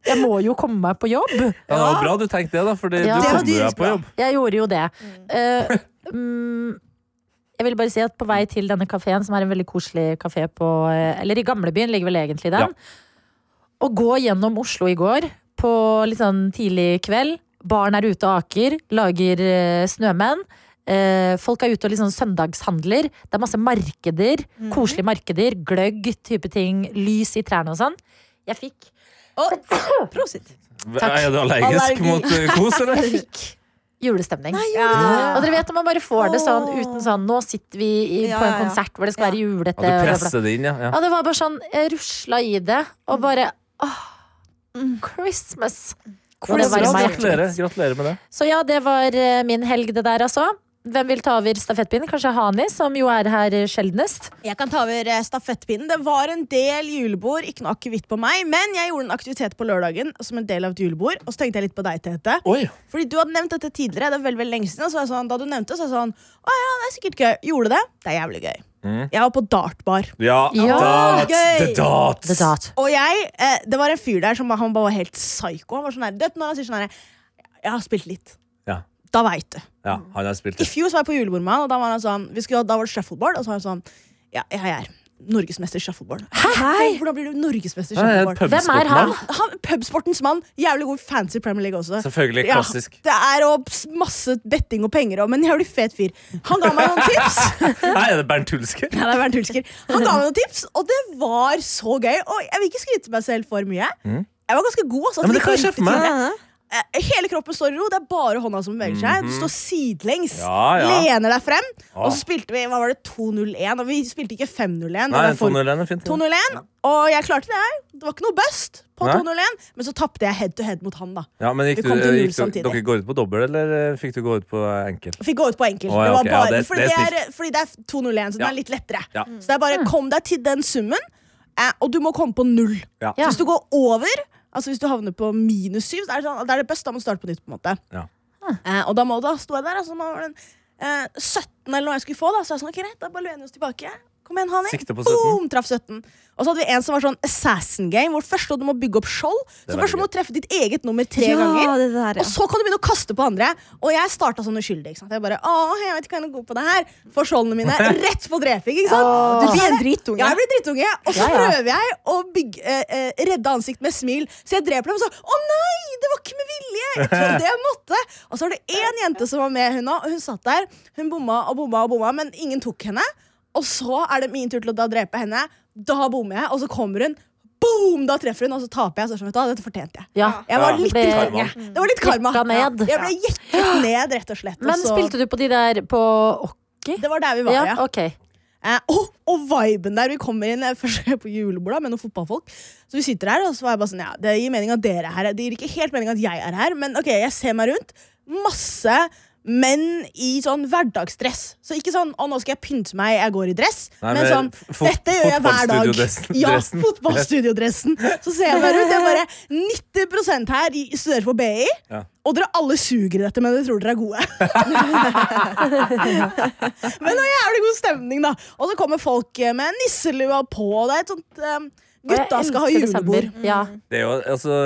jeg må jo komme meg på jobb'. Ja, det var bra du tenkte det, da, Fordi Ja. du Det var kom deg dyrisk på bra. jobb. Jeg gjorde jo det. Eh, mm, jeg vil bare si at på vei til denne kafeen, som er en veldig koselig kafé på eh, Eller i gamlebyen ligger vel egentlig den. Ja. Å gå gjennom Oslo i går på litt sånn tidlig kveld. Barn er ute og aker, lager eh, snømenn. Eh, folk er ute og liksom søndagshandler. Det er masse markeder. Koselige markeder. Gløgg, type ting. Lys i trærne og sånn. Jeg fikk Prosit. Er du allergisk Allergi. mot eh, kos, <laughs> eller? Jeg fikk julestemning. Ja. Og dere vet når man bare får det sånn Åh. uten sånn Nå sitter vi i, Ja, på ja, en ja. konsert hvor det skal være julete. Ja, du og bla, bla. presser det inn, ja. ja. Ja, det var bare sånn Jeg rusla i det og bare åh, mm, Christmas. Og det Bra, varma hjertet mitt. gratulerer, gratulerer med det. Så ja, det var eh, min helg, det der, altså. Hvem vil ta over stafettpinnen? Kanskje Hani, som jo er her eh, sjeldnest. Jeg kan ta over eh, stafettpinnen. Det var en del julebord, ikke noe akevitt på meg, men jeg gjorde en aktivitet på lørdagen som en del av et julebord, og så tenkte jeg litt på deg, Tete. Oi, Fordi du hadde nevnt dette tidligere, det er veldig, veldig lenge siden, og så var jeg sånn, da du nevnte det, så var jeg sånn, å ja, det er sikkert gøy. Gjorde det? Det er jævlig gøy. Mm. Jeg var på dartbar. Ja, Ja, Dots, gøy. The dots. The dot. Og jeg, eh, det var en fyr der som han bare var helt psyko. Han var sånn her, du vet når han sier sånn her, jeg har spilt litt. Ja. Da vet du. Ja, han har spilt I det. fjor så var jeg på julebord med han, og da var han sånn, vi skulle, ha- da var det shuffleboard, og så var han sånn, ja, jeg er her. norgesmester shuffleboard. Hei! Hvordan blir du norgesmester Han er en shuffleboard? Hvem er han? pubsportmann. Han, pubsportens mann. Jævlig god fancy Premier League også. Selvfølgelig. Ja, Klassisk. det er og ps- masse betting og penger og, men en jævlig fet fyr. Han ga meg noen tips. <laughs> Nei, er det Bernt Hulsker? Ja, det er Bernt Hulsker. Han ga meg noen tips, og det var så gøy. Og jeg vil ikke skryte meg selv for mye. Jeg var ganske god. Altså, Mm. Ja, men det kan At jeg jeg se for meg. gikk til det. Eh, Hele kroppen står i ro, det er bare hånda som beveger seg. Du står sidelengs, Mhm. Ja, ja. lener deg frem. Ja. Og så spilte vi hva var det, 2-0-1, og vi spilte ikke 5-0-1. det Nei, var for- 201 er fint. 2-0-1, og jeg klarte det. her. Det var ikke noe bust på Nei. 2-0-1, men så tapte jeg head to head mot han. da Ja, men gikk Vi du, kom til null gikk du, samtidig. dere går ut på dobbel, eller eh, fikk du gå ut på enkel? Fikk gå ut på enkelt. Å, ja, det var ok, ja, bare, det- fordi, det er det er, fordi det er 201, så den Ja. er litt lettere. Mm. Ja. Så det er bare kom deg til den summen, eh, og du må komme på null. Ja. Ja. Hvis du går over, altså hvis du havner på minus syv, da er det, sånn, da er det best. Da må du starte på nytt. på en måte Ja. eh, Og da må du da stå der. Altså, man var den, eh, 17 eller noe jeg skulle få, da, så jeg sånn, ok, greit, da bare lener vi oss tilbake. Kom igjen, Hani. Sikte på 17. Boom, traff 17. Og så hadde vi en som var sånn assassin game, hvor først så du må bygge opp skjold. er Så først så veldig må du treffe ditt eget nummer tre ja, ganger. Det der, ja. Og så kan du begynne å kaste på andre. Og jeg starta sånn uskyldig. ikke sant? Jeg bare, Åh, jeg vet ikke hva jeg er god på det her Får skjoldene mine rett på dreping. ikke sant? Du blir en dritunge. Ja, jeg blir drittunge, og så Ja, ja. prøver jeg å bygge, eh, eh, redde ansikt med smil. Så jeg dreper dem, og så Å nei, det var ikke med vilje! Jeg trodde jeg måtte. Og så var det én jente som var med, hun, da, og hun satt der. Hun bomma og bomma og bomma, men ingen tok henne. Og så er det min tur til å da drepe henne. Da bommer jeg, og så kommer hun. Boom! Da treffer hun, og så taper jeg. Så er jeg sånn, vet du, hva, dette fortjente jeg. Ja. Jeg var Ja, litt det ble- drittunge. Det var litt karma. Jekka ned. Ja, Jeg ble <gasps> jekket ned, rett og slett. og Men så- spilte du på de der på Okki? Altså- Det var der vi var, ja. Ja, ok. Eh, og, og viben der vi kommer inn eh, først på julebordet med noen fotballfolk. Så vi sitter her, og så var jeg bare sånn, ja, det gir mening at dere er her. Det gir ikke helt mening at jeg er her, men ok, jeg ser meg rundt. Masse menn i sånn hverdagsdress. Så ikke sånn, å nå skal jeg pynte meg, jeg går i dress. Nei, men, men sånn, fot- dette gjør jeg hver dag. fotballstudiodressen- Ja, dressen. fotballstudiodressen. Så ser jeg meg rundt, det er bare 90% her i- studerer på BI, Ja. og dere alle suger i dette, men dere tror dere er gode. <laughs> Men det var jævlig god stemning, da. Og så kommer folk eh, med nisselua på. og Det er et sånt eh, Gutta Jeg skal ha elsker julebord. desember. Ja. Det er jo, altså,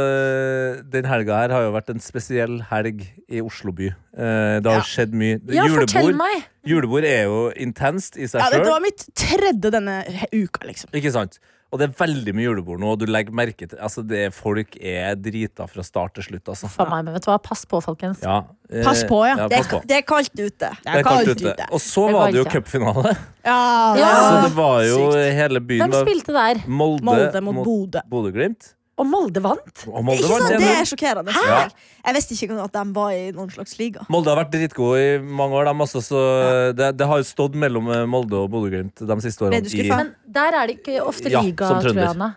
den helga her har jo vært en spesiell helg i Oslo by. Eh, Det har skjedd mye. ja, fortell meg! julebord er jo intenst i seg Ja, Dette sjøl. var mitt tredje denne he- uka, liksom. Ikke sant? Og det er veldig mye julebord nå, og du legger merke til altså det Folk er drita fra start til slutt, altså. Faen meg, men vet du hva? Pass på, folkens. Ja, eh, Pass på, ja. pass på. Det er kaldt ute. Det er kaldt ute. Og så Det er var det jo kaldt, ja. cupfinale. Ja, det Ja. Så var det var jo hele byen Hvem var spilte der? Molde, Molde mot Bodø. Bodø-Glimt. Og Molde vant? Og Molde Ikke vant sant? Det 1-0. er sjokkerende. Ja. Jeg visste ikke engang at de var i noen slags liga. Molde har vært dritgode i mange år. dem også, så det, det har jo stått mellom eh, Molde og Bodø-Glimt de siste Ble årene. du i- skuffa? Men der er det ikke ofte Ja, liga, som tror trønder. jeg. Anna.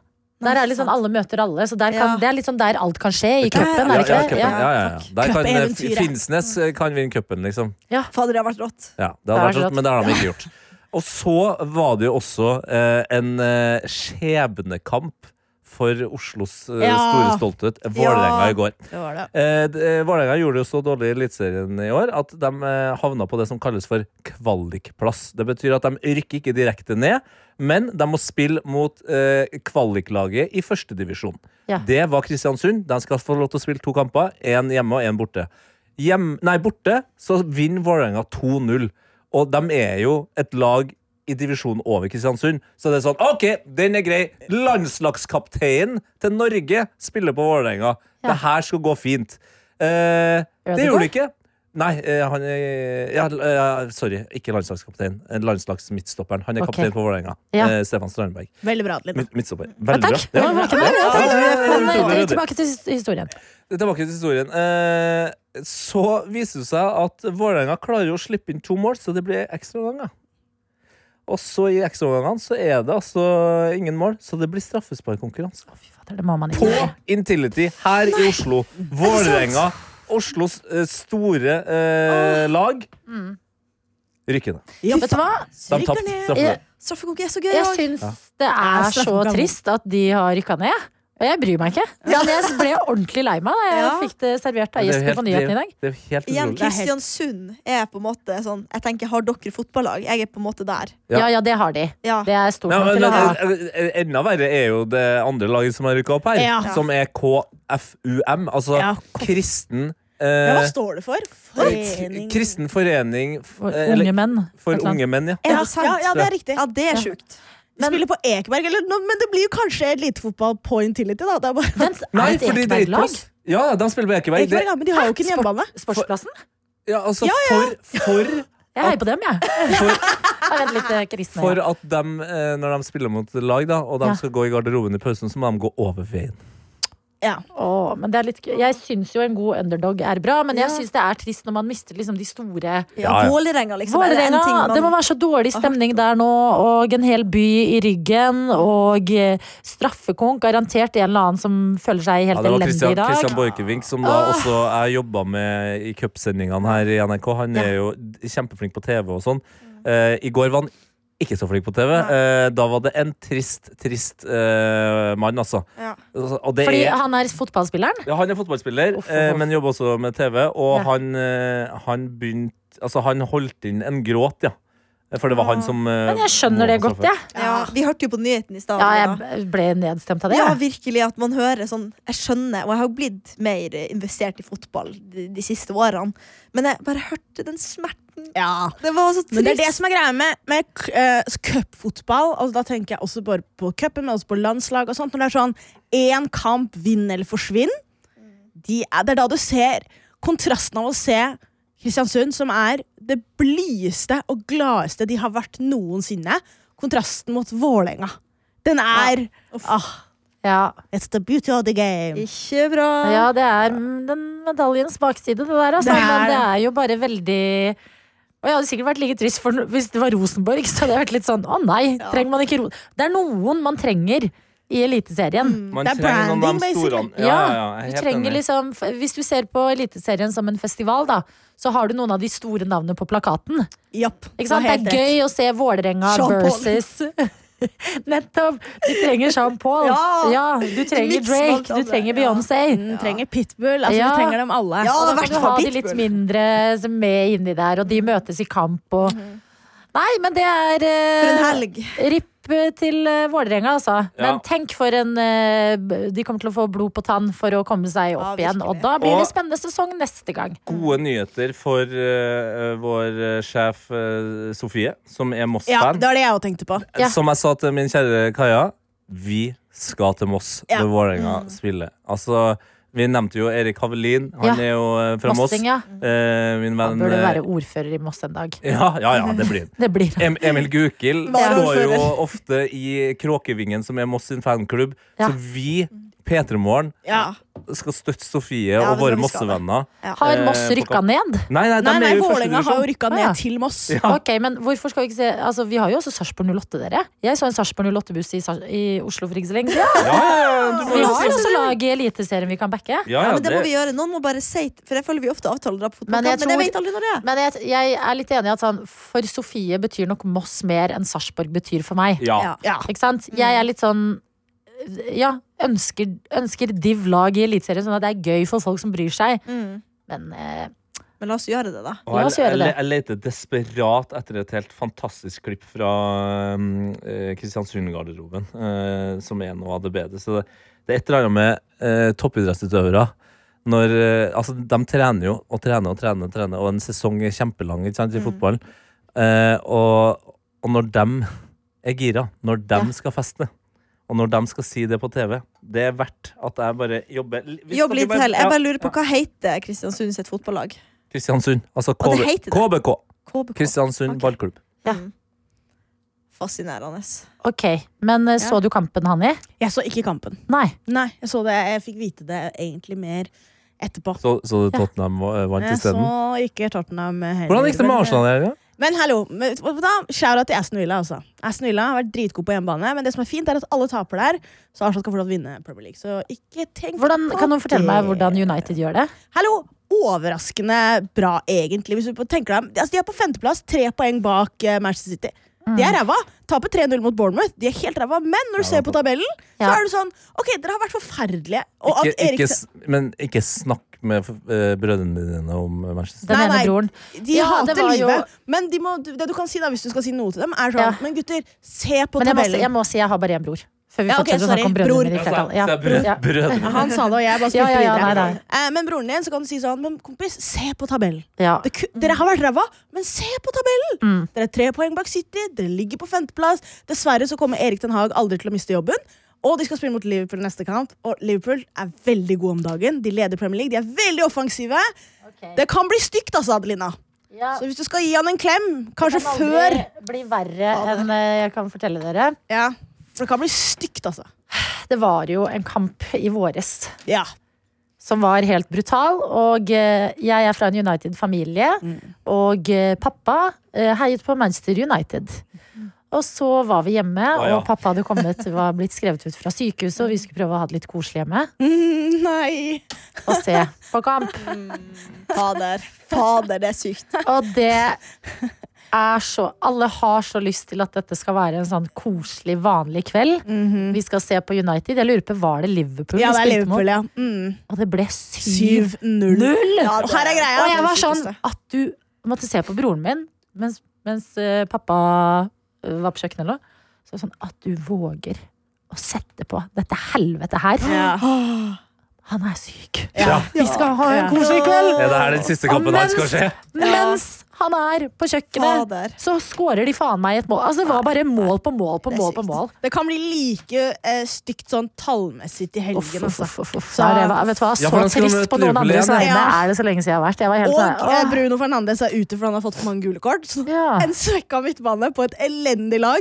Der er litt sånn alle møter alle, så der kan, Ja. det er litt sånn der alt kan skje i Cup- cupen, er det ja, ikke det? Ja. Ja, cupen, ja, ja, ja. Der kan, eh, Cup-eventyret. Finnsnes eh, kan vinne cupen, liksom. Fader, det har vært rått. Ja, det hadde vært rått, men det har de ikke gjort. Og så var det jo også eh, en eh, skjebnekamp for Oslos eh, store Ja. stolthet, Vålerenga, i går. det var det. Eh, d- eh, Vålerenga gjorde det jo så dårlig i Eliteserien i år at de eh, havna på det som kalles for kvalikplass. Det betyr at de rykker ikke direkte ned, men de må spille mot eh, kvaliklaget i førstedivisjon. Ja. Det var Kristiansund. De skal få lov til å spille to kamper, én hjemme og én borte. Hjem, nei, borte så vinner Vålerenga 2-0, og de er jo et lag i divisjonen over Kristiansund. Så det er sånn OK, den er grei. Landslagskapteinen til Norge spiller på Vålerenga. Ja. Det her skal gå fint. Eh, det Ødegaard? gjorde det ikke. Nei, eh, han er ja, eh, Sorry, ikke landslagskaptein. Eh, Landslagsmidtstopperen. Han er Ok. kaptein på Vålerenga. Ja. Eh, Stefan Strandberg. Veldig bra, Adeline. Mid midtstopper. Ja, Veldig bra. takk. Det var ikke det. Takk. Ja, ja, ja, ja, ja, Men, ja, ja, ja. eh, Tilbake til his- historien. Tilbake til historien. Eh, så viser det seg at Vålerenga klarer jo å slippe inn to mål, så det blir ekstraomganger. Og så i ekstraomgangene så er det altså ingen mål, så det blir straffesparkkonkurranse. Å, Fy fader, det må man ikke på gjøre. Intility her i Oslo. Vålerenga, Oslos eh, store eh, lag, Mm. rykker ned. Vet du hva? De tapte Jeg, straffen. Straffekonkurranse er så gøy. jeg også. syns det er så straffekonkurranse. trist at de har rykka ned. Og jeg bryr meg ikke. Men jeg ble ordentlig lei meg da jeg Ja. fikk det servert av Det er jo gjesten på helt- nyheten i dag. Det er jo helt Igjen, utrolig. er helt- Kristiansund er på en måte sånn Jeg tenker, har dere fotballag? Jeg er på en måte der. Ja. Ja, ja, det har de. Ja. Det er stort Nei, nok men, til å ha. men, eh, eh, enda verre er jo det andre laget som har rykka opp her, Ja. som er KFUM. Altså Ja, kristen Men hva eh, står det for? k- Kristen forening f- For eh, unge eller, menn. for et eller annet. unge menn, ja. Er Ja, det sant? ja, ja, det er riktig. Ja, det er Ja. sjukt. spiller på Ekeberg, eller, noe, men det blir jo kanskje elitefotball på Intility, da. Det er bare, Vent, er Nei, det et fordi det er ikke Ekeberg-lag? plass. Ja, de spiller på Ekeberg. Ekeberg, Det, ja, men de har jo ikke en Sport- hjemmebane. Sportsplassen? ja, altså, For, for, Jeg heier på dem, jeg. for, <laughs> Ja, Vent litt, eh, Kristne. for at de, eh, når de spiller mot lag, da, og de Ja. skal gå i garderoben i pausen, så må de gå over veien. Ja. Åh, men det er litt, gøy. jeg syns jo en god underdog er bra, men jeg syns det er trist når man mister liksom de store Ja, ja. Vålerenga, liksom. er det en ting Vålerenga. man- Det må være så dårlig stemning der nå, og en hel by i ryggen, og eh, straffekonk. Garantert en eller annen som føler seg Ja, helt det var elendig Christian, i dag. Christian Borchgrevink, som da også jeg jobba med i cupsendingene her i NRK. Han er jo d- kjempeflink på TV og sånn. Eh, I går var han ikke så flink på TV. Eh, da var det en trist, trist eh, mann, altså. Ja. Altså, Og det Fordi er han er fotballspilleren? ja, han er fotballspiller, Uff, uff, eh, uff. men jobber også med TV. Ja. Og han, eh, han begynte Altså, han holdt inn en gråt, ja. For det var han som eh, Men jeg skjønner det godt, jeg. Ja, vi hørte jo på nyheten i stad. Ja, Nina. jeg b- ble nedstemt av det. Ja, jeg. virkelig. At man hører sånn Jeg skjønner, og jeg har jo blitt mer investert i fotball de, de siste årene, men jeg bare hørte den smerten. ja. Det var så trist. Men det er det som er greia med, med k- eh, cupfotball. Altså, da tenker jeg også bare på cupen, men også på landslag og sånt. Når det er sånn én kamp, vinn eller forsvinn, de er, det er da du ser kontrasten av å se Kristiansund, som er det blideste og gladeste de har vært noensinne, kontrasten mot Vålerenga. Den er ah, Ja. It's the beauty of the game. Ikke bra. ja, det er mm, den medaljens bakside, det der, altså. Det er Men det det. er jo bare veldig og jeg hadde sikkert vært like trist for, hvis det var Rosenborg. Så hadde jeg vært litt sånn, å nei, trenger man ikke ro Det er noen man trenger i Eliteserien. Man Det er trenger noen av de branding, store. basically. Ja, ja, ja, jeg er du helt trenger enig. liksom f- Hvis du ser på Eliteserien som en festival, da, så har du noen av de store navnene på plakaten. Japp. Ikke sant? Det Helt er gøy å se Vålerenga Jean Paul. versus <laughs> Nettopp! Du trenger Jean Paul. Ja. du En trenger miks av Drake. alt Du alle. trenger Ja. Beyoncé. Den trenger pitbull. Altså, Ja. Vi trenger dem alle. Ja, Og da i hvert kan du fall ha de Pitbull. litt mindre som er med inni der, og de møtes i kamp og Nei, men det er eh, Mhm. For en helg. Ripp eh, til eh, Vålerenga, altså. Ja. Men tenk for en eh, b- De kommer til å få blod på tann for å komme seg opp Ja, igjen. virkelig. Og da blir Og- det spennende sesong neste gang. Gode nyheter for eh, vår eh, sjef eh, Sofie, som er Ja, Moss-fan. det var det jeg òg tenkte på. ja. Som jeg sa til min kjære Kaja, vi skal til Moss Ja. når Vålerenga spiller. Altså, vi nevnte jo Erik Havelin. Han Ja. er jo eh, fra Moss. Mossing, ja. Eh, min Da venn bør du eh, være ordfører i Moss en dag. <laughs> Ja, ja, ja, det blir han. Det blir Em <laughs> Emil Gukild Ja. står jo ofte i Kråkevingen, som er Moss sin fanklubb. Ja. Så vi, P3 Morgen, Ja. skal støtte Sofie Ja, og det våre tror vi skal det. Mossevenner. Har Moss Eh, rykka ned? Nei, nei, de Nei, nei, er jo i første Vålerenga har divisjon. jo rykka Ah, ja. ned til Moss. Ok, men hvorfor skal vi ikke se Altså, Vi har jo også Sarpsborg 08, dere. Jeg så en Sarpsborg 08-buss i, Sars- i Oslo for ikke så lenge siden. Ja, ja, ja, du må Vi jo har si- også lag i Eliteserien vi kan backe. ja, Ja, ja, men det må det- vi gjøre. Noen må bare si For jeg føler vi ofte avtaler å dra på Men jeg fotballkamp, men jeg tror- vet aldri når det er. Men jeg, jeg er litt enig i at sånn, for Sofie betyr nok Moss mer enn Sarpsborg betyr for meg. ja. Ja. Ja. Ikke sant? Jeg er litt sånn Ja, ønsker, ønsker div lag i Eliteserien, sånn at det er gøy for folk som bryr seg. Mm. Men eh, Men la oss gjøre det, da. Og La oss jeg, gjøre det. jeg, jeg leter desperat etter et helt fantastisk klipp fra um, eh, Kristiansund-garderoben, eh, som er noe av det bedre. Så det, det er et eller annet med eh, toppidrettsutøvere. Når, eh, altså, de trener jo og trener og trener, og trener, og en sesong er kjempelang ikke Mm. sant, i fotballen. Eh, og, og når de er gira, når de Ja. skal feste, og når de skal si det på TV, det er verdt at jeg bare jobber Hvis Jobb dere litt til. Jeg ja, bare lurer på ja. hva heter Kristiansund sitt fotballag? Kristiansund. Altså Å, det KB, heter det. KBK. KBK. Kristiansund Ok. ballklubb. Fascinerende. ok. Men eh, så du kampen, Hanni? Jeg så ikke kampen. Nei. Nei, jeg så det. Jeg fikk vite det egentlig mer etterpå. Så, så Tottenham eh, vant Jeg så isteden? ikke Tottenham heller. Hvordan gikk det med Arsenal? i helga? eh, Men hallo, men vet du hva? shout-out til Aston Villa. Altså. Aston Villa har vært dritgod på hjemmebane, men det som er fint er at alle taper der. Så Arsenal skal fortsatt vinne Premier League. Så ikke tenk Hvordan, på kan noen fortelle meg det. hvordan United gjør det? Hallo! Overraskende bra, egentlig. Hvis du på- tenker deg om. altså, De er på femteplass, tre poeng bak eh, Manchester City. Mm. De er ræva. Taper 3-0 mot Bournemouth. De er helt ræva. Men når du ser på tabellen, så Ja. er det sånn OK, dere har vært forferdelige. Og at Ikke, ikke, Eriksen- s- men ikke snakk med eh, brødrene dine om Manchester. Den Nei, ene nei. broren. De Ja, det hater var jo- livet. Men de må, det du kan si da, hvis du skal si noe til dem, er sånn Ja. Men gutter, se på Men jeg må, si- tabellen. jeg må si jeg har bare én bror. Før vi Ja, ok, fortsetter å sorry, snakke om brødrene bror. mine i flertall. Ja, Ja. så er Altså, brød- Ja. brødrene. Han sa det, og jeg bare <laughs> Ja, spilte ja, ja, videre. nei, nei. Eh, Men broren din så kan du si sånn Men kompis, se på tabellen. Ja. Det, ku- dere har vært ræva, men se på tabellen! Dere er tre poeng bak City, dere ligger på femteplass. Dessverre så kommer Erik Den Haag aldri til å miste jobben. Og de skal spille mot Liverpool neste kamp. Og Liverpool er veldig gode om dagen. De leder Premier League, de er veldig offensive. Det kan bli stygt, altså, Adelina. Så hvis du skal gi han en klem, kanskje før blir verre enn eh, jeg kan fortelle dere. Ja, For det kan bli stygt, altså. Det var jo en kamp i våres Ja. <laughs> som var helt brutal. Og eh, jeg er fra en United-familie, Mm. og eh, pappa eh, heiet på Manchester United. Og så var vi hjemme, Å, ja. og pappa hadde kommet, var blitt skrevet ut fra sykehuset, og vi skulle prøve å ha det litt koselig hjemme Mm, nei. og se på kamp. Fader, fader, det er sykt. Og det er så Alle har så lyst til at dette skal være en sånn koselig, vanlig kveld. Vi skal se på United. Jeg lurer på, var det Liverpool Mhm. Ja, vi det er spilte Liverpool, mot? ja. Mm. Og det ble syv 7-0. Null! Ja, Og her er greia. og jeg det var sånn sykeste. at du måtte se på broren min mens, mens eh, pappa eh, var på kjøkkenet eller noe. Så var det sånn at du våger å sette på dette helvete her. Han er syk. Ja. Vi skal ha en Ja. koselig Er kveld! det her den siste kampen Og han skal mens- se? Mens han er på kjøkkenet, Fader. så scorer de faen meg et mål. Altså, det var bare mål på mål på det er mål på sykt. mål. Det kan bli like eh, stygt sånn tallmessig til Uff, helgen. uff, Altså. uff, uff, uff. Så- Nei, det var, vet du hva, Ja, så for han skal trist møte på noen Liverpool andres igjen. vegne Ja. er det så lenge siden jeg har vært. Jeg var helt Og sånn, eh, åh. Bruno Fernandes er ute for han har fått for mange gule kort. Så Ja. En svekka midtbane på et elendig lag.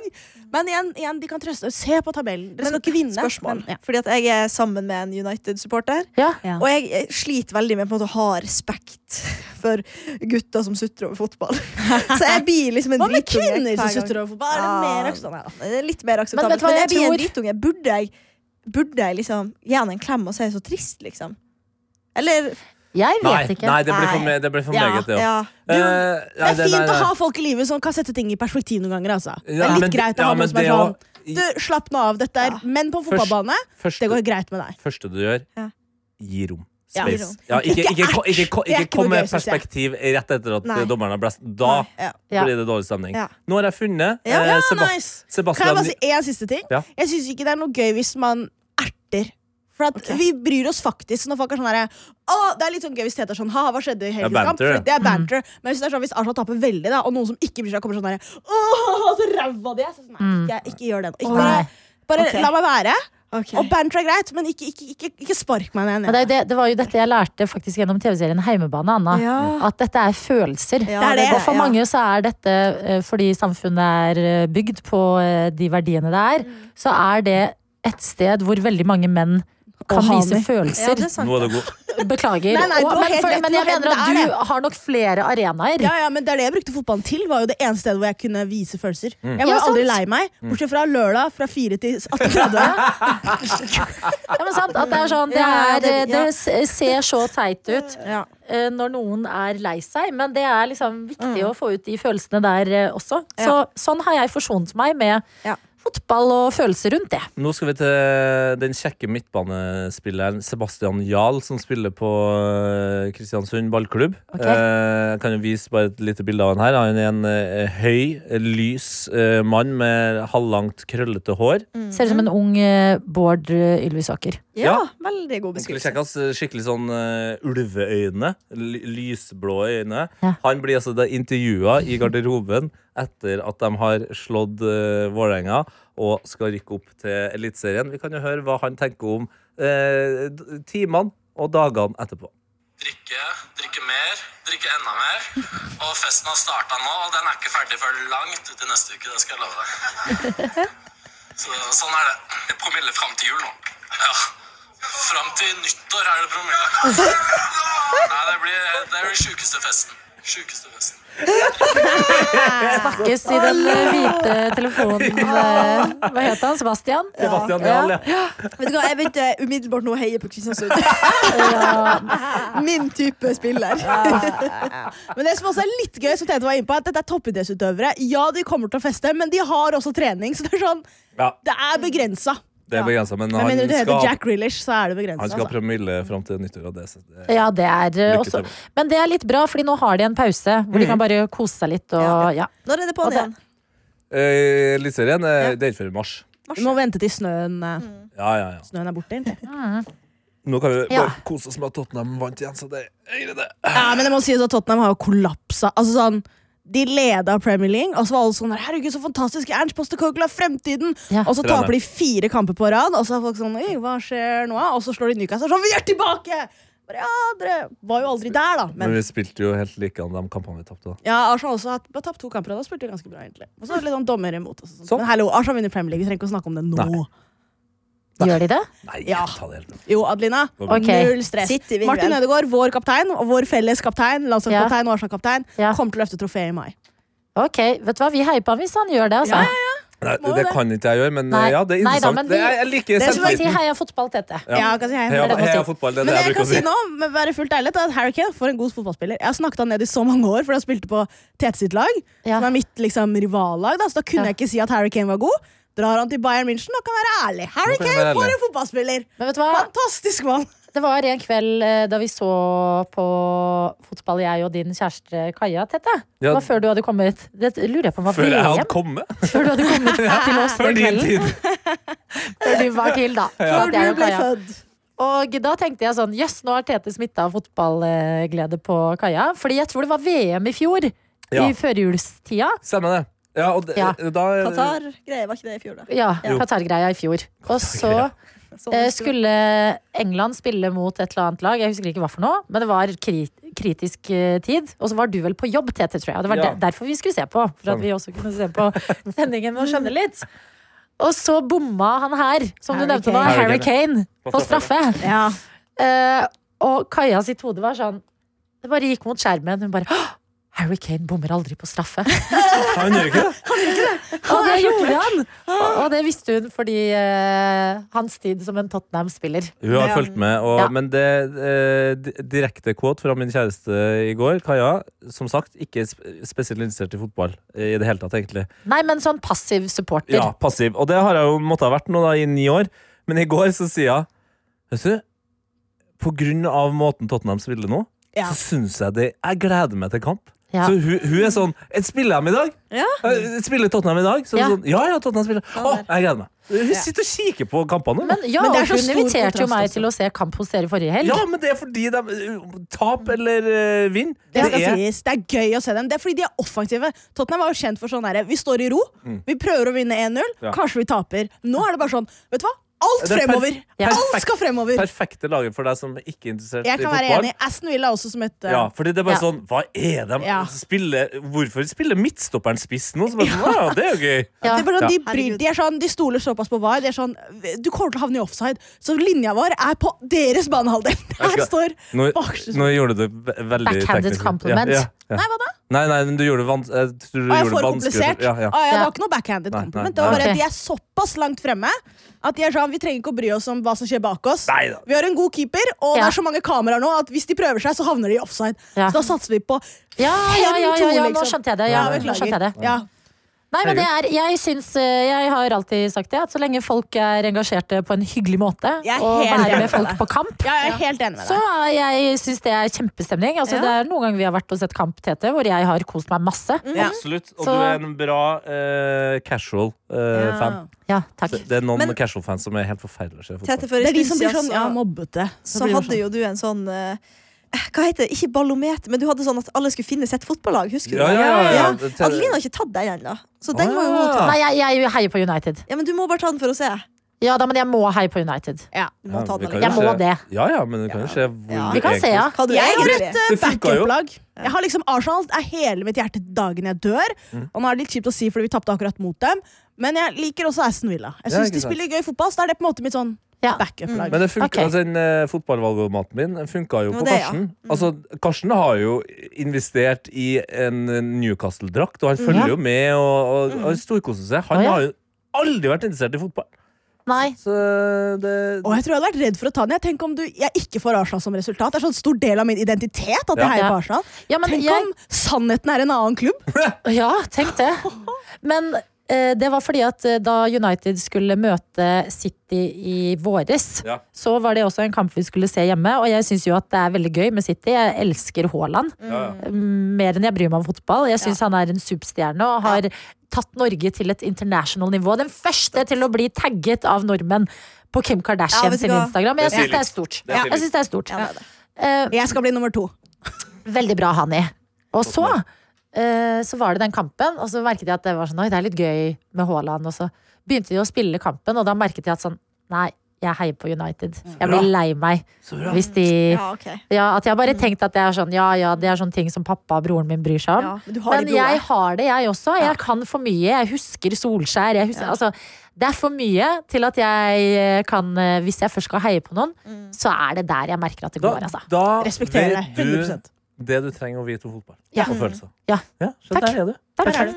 Men igjen, igjen de kan trøste. Se på tabellen. Dere skal ikke vinne. Spørsmål. Men, ja. Fordi at jeg er sammen med en United-supporter. Ja. Ja. Og jeg eh, sliter veldig med på en måte, å ha respekt for gutter som sutrer over fotball. Så jeg blir liksom en Hva med dritunge kvinner som hver gang. sutter over fotball? Er det Ja. mer sånn, aksjon her, da? Det er Litt mer Men vet akseptabelt. du hva Men, jeg jeg blir en tror? dritunge. Burde jeg, burde jeg liksom gi han en klem og si så trist, liksom? Eller Jeg Nei, vet ikke. nei, det blir for, Nei. me- det blir for Ja. meget, det Eh, òg. Ja. Du, Det er fint å ha folk i livet som kan sette ting i perspektiv noen ganger. Altså. Det er litt greit å ha noen som er sånn Du, slapp nå av, dette er Ja. menn på fotballbane. Det går greit med deg. første du gjør, Ja. gi rom. Ja. Space. Gi rom. Ja, ikke, ikke, ikke, ikke, ikke, Det er ikke kom noe med gøy, synes jeg. perspektiv rett etter at Nei. dommeren har blåst. Da Ja. Ja. blir det dårlig stemning. Ja. Nå har jeg funnet Ja. eh, Ja, nice. Sebast Kan jeg Sebastian bare si én siste ting? Altså, Ja. Jeg syns ikke det er noe gøy hvis man erter. For at Vi bryr oss faktisk når folk er sånn herre Å, det er litt sånn gøy hvis Tete er sånn Ha, hva skjedde i helgens Det er kamp? banter, Mm. For Det er banter. Men hvis det er sånn hvis Arsenal taper veldig, da, og noen som ikke bryr seg, kommer sånn herre Å, <laughs> så ræva de er! Så sånn, nei, ikke, ikke gjør det. nå. Ikke Mm. Nei. bare bare Ok. la meg være. Ok. Og banter er greit, men ikke, ikke, ikke, ikke spark meg ned. Men det, er jo det, det var jo dette jeg lærte faktisk gjennom TV-serien Heimebane, Anna. Ja. At dette er følelser. Ja, det er det. Og for Ja. mange så er dette, eh, fordi samfunnet er eh, bygd på eh, de verdiene det Mm. er, så er det et sted hvor veldig mange menn kan ha vise det. ja, følelser. det er sant. Nå er det god. Beklager. Nei, nei, du Og- har men, helt for, rett, men du har jeg mener helt- at det er du har nok flere arenaer. Ja, ja, men det er det jeg brukte fotballen til. Var jo det eneste stedet hvor jeg kunne vise følelser. Mm. Jeg var Ja, jo aldri sant. lei meg, bortsett fra lørdag fra 4 til 18.30. <laughs> Ja, men sant, at det er sånn, det, Ja, ja, er, det- ja. det s- ser så teit ut Ja. eh, når noen er lei seg, men det er liksom viktig å få ut de følelsene der eh, også. Så, sånn har jeg forsont meg med Ja. fotball og følelser rundt det. Nå skal vi til den kjekke midtbanespilleren Sebastian Jahl, som spiller på eh, Kristiansund ballklubb. Ok. Eh, jeg kan jo vise bare et lite bilde av han her. Han er en eh, høy, lys eh, mann med halvlangt, krøllete hår. Ser ut som en ung eh, Bård eh, Ylvisåker. Ja, Ja. veldig god Skikkelig beskrivelse. kjekk, ass. Skikkelig sånn eh, ulveøyne. Ly- Lysblå øyne. Ja. Han blir altså intervjua i garderoben etter at de har slått eh, Vålerenga og skal rykke opp til Eliteserien. Vi kan jo høre hva han tenker om eh, d- timene og dagene etterpå. drikke, drikke mer, drikke enda mer. Og festen har starta nå, og den er ikke ferdig før langt ut i neste uke. Det skal jeg love deg. Så, sånn er det. Det er promille fram til jul nå. Ja. Fram til nyttår er det promille. Nei, det blir det blir sjukeste festen. Sjukeste festen. Snakkes i den eh, hvite telefonen eh, Hva het han? Sebastian? Sebastian Ja. Dahl, ja. Vet du hva, Jeg begynte umiddelbart nå å heie på Kristiansund. Min type spiller. Men det som også er litt gøy, som Tete var inne på, er at dette er toppidrettsutøvere. Ja, de kommer til å feste, men de har også trening, så det er sånn ja. Det er begrensa. Det er begrensa, men Med han mindre du heter skal, Jack Grealish, så er det han begrensa. skal ha Altså. promille fram til nyttår. Og det, så det, Ja, det er eh, Lykke også til. Men det er litt bra, fordi nå har de en pause hvor de kan bare kose seg litt og ja. Når er det Og på'n det- igjen? Eh, Eliteserien eh, det er ikke før i mars. Vi må vente til snøen, eh, Ja, ja, ja. snøen er borte. egentlig. Nå kan vi Ja. bare kose oss med at Tottenham vant igjen, så det er det. Ja, men det må sies at Tottenham har jo kollapsa. Altså sånn de leda Premier League, og så var alle sånn der, Herregud, så fantastisk! Ernst Postekoglu er fremtiden! Ja. Og så Trener. taper de fire kamper på rad, og så er folk sånn Oi, hva skjer nå? Og så slår de Newcastle sånn Vi er tilbake! Bare, ja, dere var jo aldri der, da. Men Men vi spilte jo helt like an de kampene vi tapte. da. ja, Arsenal også har bare tapt to kamper, og da spilte de ganske bra, egentlig. Og så er det litt sånn dommer imot. Og sånn. Sånn. Men hallo, Arsenal vinner Premier League, vi trenger ikke å snakke om det nå. Nei. Gjør de det? Nei, Ja. ta det helt med. Jo, Adelina. Ok. Null stress. City vinner Martin vel. Ødegaard, vår kaptein, og vår felles kaptein, landslagskaptein og Arsenal-kaptein, Ja. kommer til å løfte trofeet i mai. Ok, vet du hva, vi heier på ham hvis han gjør det, altså. Ja, Nei, Må det det. kan ikke jeg gjøre, men Nei. eh, ja, det er Nei da, interessant. men vi- det, jeg, jeg liker Det er som å si selvtilliten. heia fotball, Tete. Ja. Ja, kan si hei. Heia, det må jeg heia si. fotball, det Men er det det jeg jeg kan bruker å si si. nå, med å være fullt ærlig, er at Harry Kane for en god fotballspiller. Jeg har snakket han ned i så mange år fordi han spilte på Tete sitt lag, Ja. som er mitt liksom, rivallag. Da. Så da kunne Ja. jeg ikke si at Harry Kane var god. Drar han til Bayern München og kan være ærlig. Harry Nå kan jeg Kane være for ærlig. en fotballspiller! Men vet du hva, Fantastisk mann! det var en kveld eh, da vi så på fotball, jeg og din kjæreste Kaja, Tete. Det Ja. var før du hadde kommet. Det lurer jeg på om var Før jeg VM. hadde kommet. Før du hadde <laughs> kommet til oss Før den din kvelden. tid. Før du var <laughs> til, da. Så Når at jeg og du ble Kaja- født. Og da tenkte jeg sånn, jøss, nå har Tete smitta av fotballglede på kaia. Fordi jeg tror det var VM i fjor, Ja. i førjulstida. Stemmer det. Ja, og det, Ja. da Qatar-greier, var ikke det i fjor, da? Ja, Jo. Qatar-greia i fjor. Og så Sånn eh, skulle- skulle England spille mot et eller annet lag, jeg husker ikke hva for noe, men det var kri kritisk eh, tid. Og så var du vel på jobb, Tete, tror jeg. Og det var Ja. der- derfor vi skulle se på. For at vi også kunne se <laughs> på sendingen og skjønne litt. Og så bomma han her, som du Harry nevnte da, Kane. Harry Kane, på straffe. Ja. Eh, og Kaja sitt hode var sånn Det bare gikk mot skjermen. Hun bare «Åh, Harry Kane bommer aldri på straffe. <laughs> Han gjør ikke det. Og det gjorde han! Og det visste hun fordi eh, hans tid som en Tottenham-spiller. Hun har fulgt med. Og, Ja. Men det eh, di- direkte quote fra min kjæreste i går, Kaja, som sagt, ikke sp- spesielt interessert i fotball eh, i det hele tatt, egentlig. Nei, men sånn passiv supporter. Ja, passiv. Og det har jeg jo måttet ha vært nå da, i ni år. Men i går så sier jeg Vet du, på grunn av måten Tottenham spiller nå, Ja. så syns jeg det Jeg gleder meg til kamp. Ja. Så hun, hun er sånn «Eh, Spiller de i dag? Ja. Eh, Spiller Tottenham i dag? Så Ja. ja. Sånn, ja, ja, Tottenham spiller. Å, jeg gleder meg. Hun sitter og kikker på kampene. Men, ja, Men det er og så hun stor inviterte jo kontrast meg også. til å se kamp hos dere forrige helg. ja, men det er fordi de eh, Tap eller eh, vinn. Det, skal er sies. det er gøy å se dem. Det er fordi de er offensive. Tottenham var jo kjent for sånn derre Vi står i ro, vi prøver å vinne 1-0, Mm. Ja. kanskje vi taper. Nå er det bare sånn, vet du hva? Alt Det er per- fremover! Ja. Alt skal fremover! perfekte laget for deg som ikke er interessert Jeg i kan fotball. være enig. Aston Villa er også som et uh, Ja, fordi det er bare Ja. sånn Hva er de? Ja. Spiller, hvorfor spiller midtstopperen spiss nå? Så <laughs> bare sånn, ja, det er jo gøy. Ja. Det er bare sånn, de, bryr, Herregud. de, er sånn, de stoler såpass på VAR. De er sånn, du kommer til å havne i offside, så linja vår er på deres banehalvdel! <laughs> Her skal- står Nå, Baksjus- nå gjorde du det ve- veldig Backhanded teknisk. compliment. Ja, ja, ja. Nei, hva da? Nei, nei, men du gjorde det vans- jeg tror Å, jeg du får gjorde det vanskelig. komplisert. for- Ja, ja. Å, jeg Ja. var ikke noe backhanded Nei, nei, compliment. Det var nei. bare at Ok. De er såpass langt fremme at de er sånn, vi trenger ikke å bry oss om hva som skjer bak oss. Nei da. Vi har en god keeper, og det Ja. er så mange kameraer nå at hvis de prøver seg, så havner de i offside. Ja. Så da satser vi på Ja, ja, ja, ja, ja, nå 5-2, liksom. skjønte jeg det. Ja, Ja, nå skjønte jeg det. Ja. Nei, men det er, jeg, syns, eh, jeg har alltid sagt det, at så lenge folk er engasjerte på en hyggelig måte, Jeg er og helt enig være med med folk deg. på kamp, ja, jeg er helt enig med Så eh, deg. jeg syns det er kjempestemning. Altså, Ja. Det er noen ganger vi har vært og sett kamp, Tete, hvor jeg har kost meg masse. Ja. Absolutt. Og Så- du er en bra eh, casual eh, fan. Ja, takk. Det er noen Men- casual-fans som er helt forferdelige. å se fotball. Tete, for en Det er de stund som blir siden sånn så- ja, mobbete. Så så blir man hadde jo du en sånn eh, hva heter det? Ikke ballometer, men du hadde sånn at alle skulle finne sitt fotballag. Husker du Ja, det? ja, ja, ja. Tete- Adeline har ikke tatt den ennå. Så den Å, må jo hun ta. Nei, jeg, jeg heier på United. Ja, men du må bare ta den for å se. Ja da, men jeg må heie på United. Du må Ja, ta vi den Jeg kan jo allikevel. må se- det. Ja, ja, men det kan jo se hvor Ja. du Vi kan se, egentlig- ja. Hva du Jeg har egentlig- et eh, Det funka jo. backup-lag. Jeg har liksom Arsenal er hele mitt hjerte dagen jeg dør. Mm. Og nå er det litt kjipt å si fordi vi tapte akkurat mot dem, men jeg liker også Aston Villa. Jeg Ja, syns ikke de sant. spiller gøy fotball, så da er det på en måte mitt sånn Ja. backup-lag. Men det funka, Ok. altså, den eh, fotballvalgomaten min den funka jo Ja, på det, ja. Mm. Karsten. Altså, Karsten har jo investert i en Newcastle-drakt, og han Ja. følger jo med og, og, Mm. og storkoser seg. Han Å, ja. har jo aldri vært interessert i fotball. Nei. Så det Og jeg tror jeg hadde vært redd for å ta den. Jeg tenker om du, jeg ikke får Arsenal som resultat. Det er sånn stor del av min identitet at jeg Ja. heier Ja. på Arsenal. Ja, men Tenk jeg, om sannheten er en annen klubb! ja, tenk det. Men eh, det var fordi at eh, da United skulle møte City i våres, Ja. så var det også en kamp vi skulle se hjemme. Og jeg syns jo at det er veldig gøy med City. Jeg elsker Haaland. Ja, ja. Mm, Mer enn jeg bryr meg om fotball. Jeg syns han er en superstjerne og har tatt Norge til et international nivå. Den første til å bli tagget av nordmenn på Kim Ja, Kardashian vet du sin hva? Instagram. Jeg Det er syns det er stilig. stort. Det er Jeg stilig. synes det er stort. Ja, det er det. Eh, Jeg skal bli nummer to. Veldig bra, Hani. Og så, eh, så var det den kampen, og så merket jeg at det var sånn Oi, det er litt gøy med Haaland. Og så begynte de å spille kampen, og da merket jeg at sånn Nei, jeg heier på United. Jeg blir lei meg hvis de Ja, ok. ja, At jeg har bare tenkt at det er sånn Ja ja, det er sånne ting som pappa og broren min bryr seg om. Ja, men du har Men det i blodet. jeg har det, jeg også. Jeg kan for mye. Jeg husker Solskjær. Jeg husker, altså, det er for mye til at jeg eh, kan eh, Hvis jeg først skal heie på noen, Mm. så er det der jeg merker at det Da, går, altså. da Respekterer vet deg, du 100%. det du trenger å vite om fotball. Ja. Og følelser. Ja. så Takk. der er du. Takk.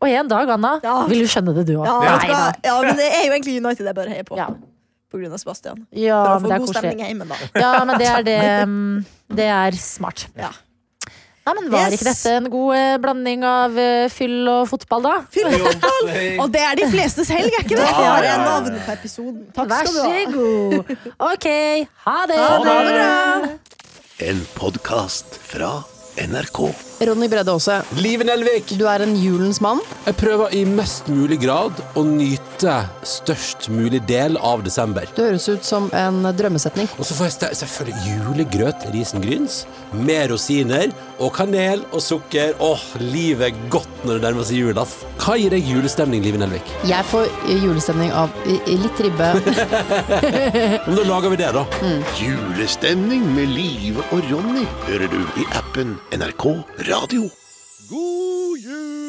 Og en dag, Anna, Ja. vil du skjønne det du òg. Ja, vet du hva? ja, men det er jo egentlig United jeg bør heie på. Ja. På grunn av Sebastian. ja, For men å få det er god stemning koselig. hjemme, da. Ja, men <laughs> det er det mm, Det er smart. Ja. Nei, men Var Yes. ikke dette en god eh, blanding av eh, fyll og fotball, da? Og det er de flestes helg, er ikke Det det? har jeg navn på episoden. Takk Vær skal du ha. så <laughs> god. Ok, ha det! En podkast fra NRK. Ronny Bredde Aase, Liven Elvik, du er en julens mann. jeg prøver i mest mulig grad å nyte størst mulig del av desember. Du høres ut som en drømmesetning. Og så får jeg ste- selvfølgelig julegrøt, risengryns, med rosiner og kanel og sukker. Åh, livet er godt når det nærmer seg jul, ass. Hva gir deg julestemning, Liven Elvik? Jeg får julestemning av i- i litt ribbe. Men da lager vi det, da. Julestemning med Live og Ronny hører du i appen NRK Radio. God jul!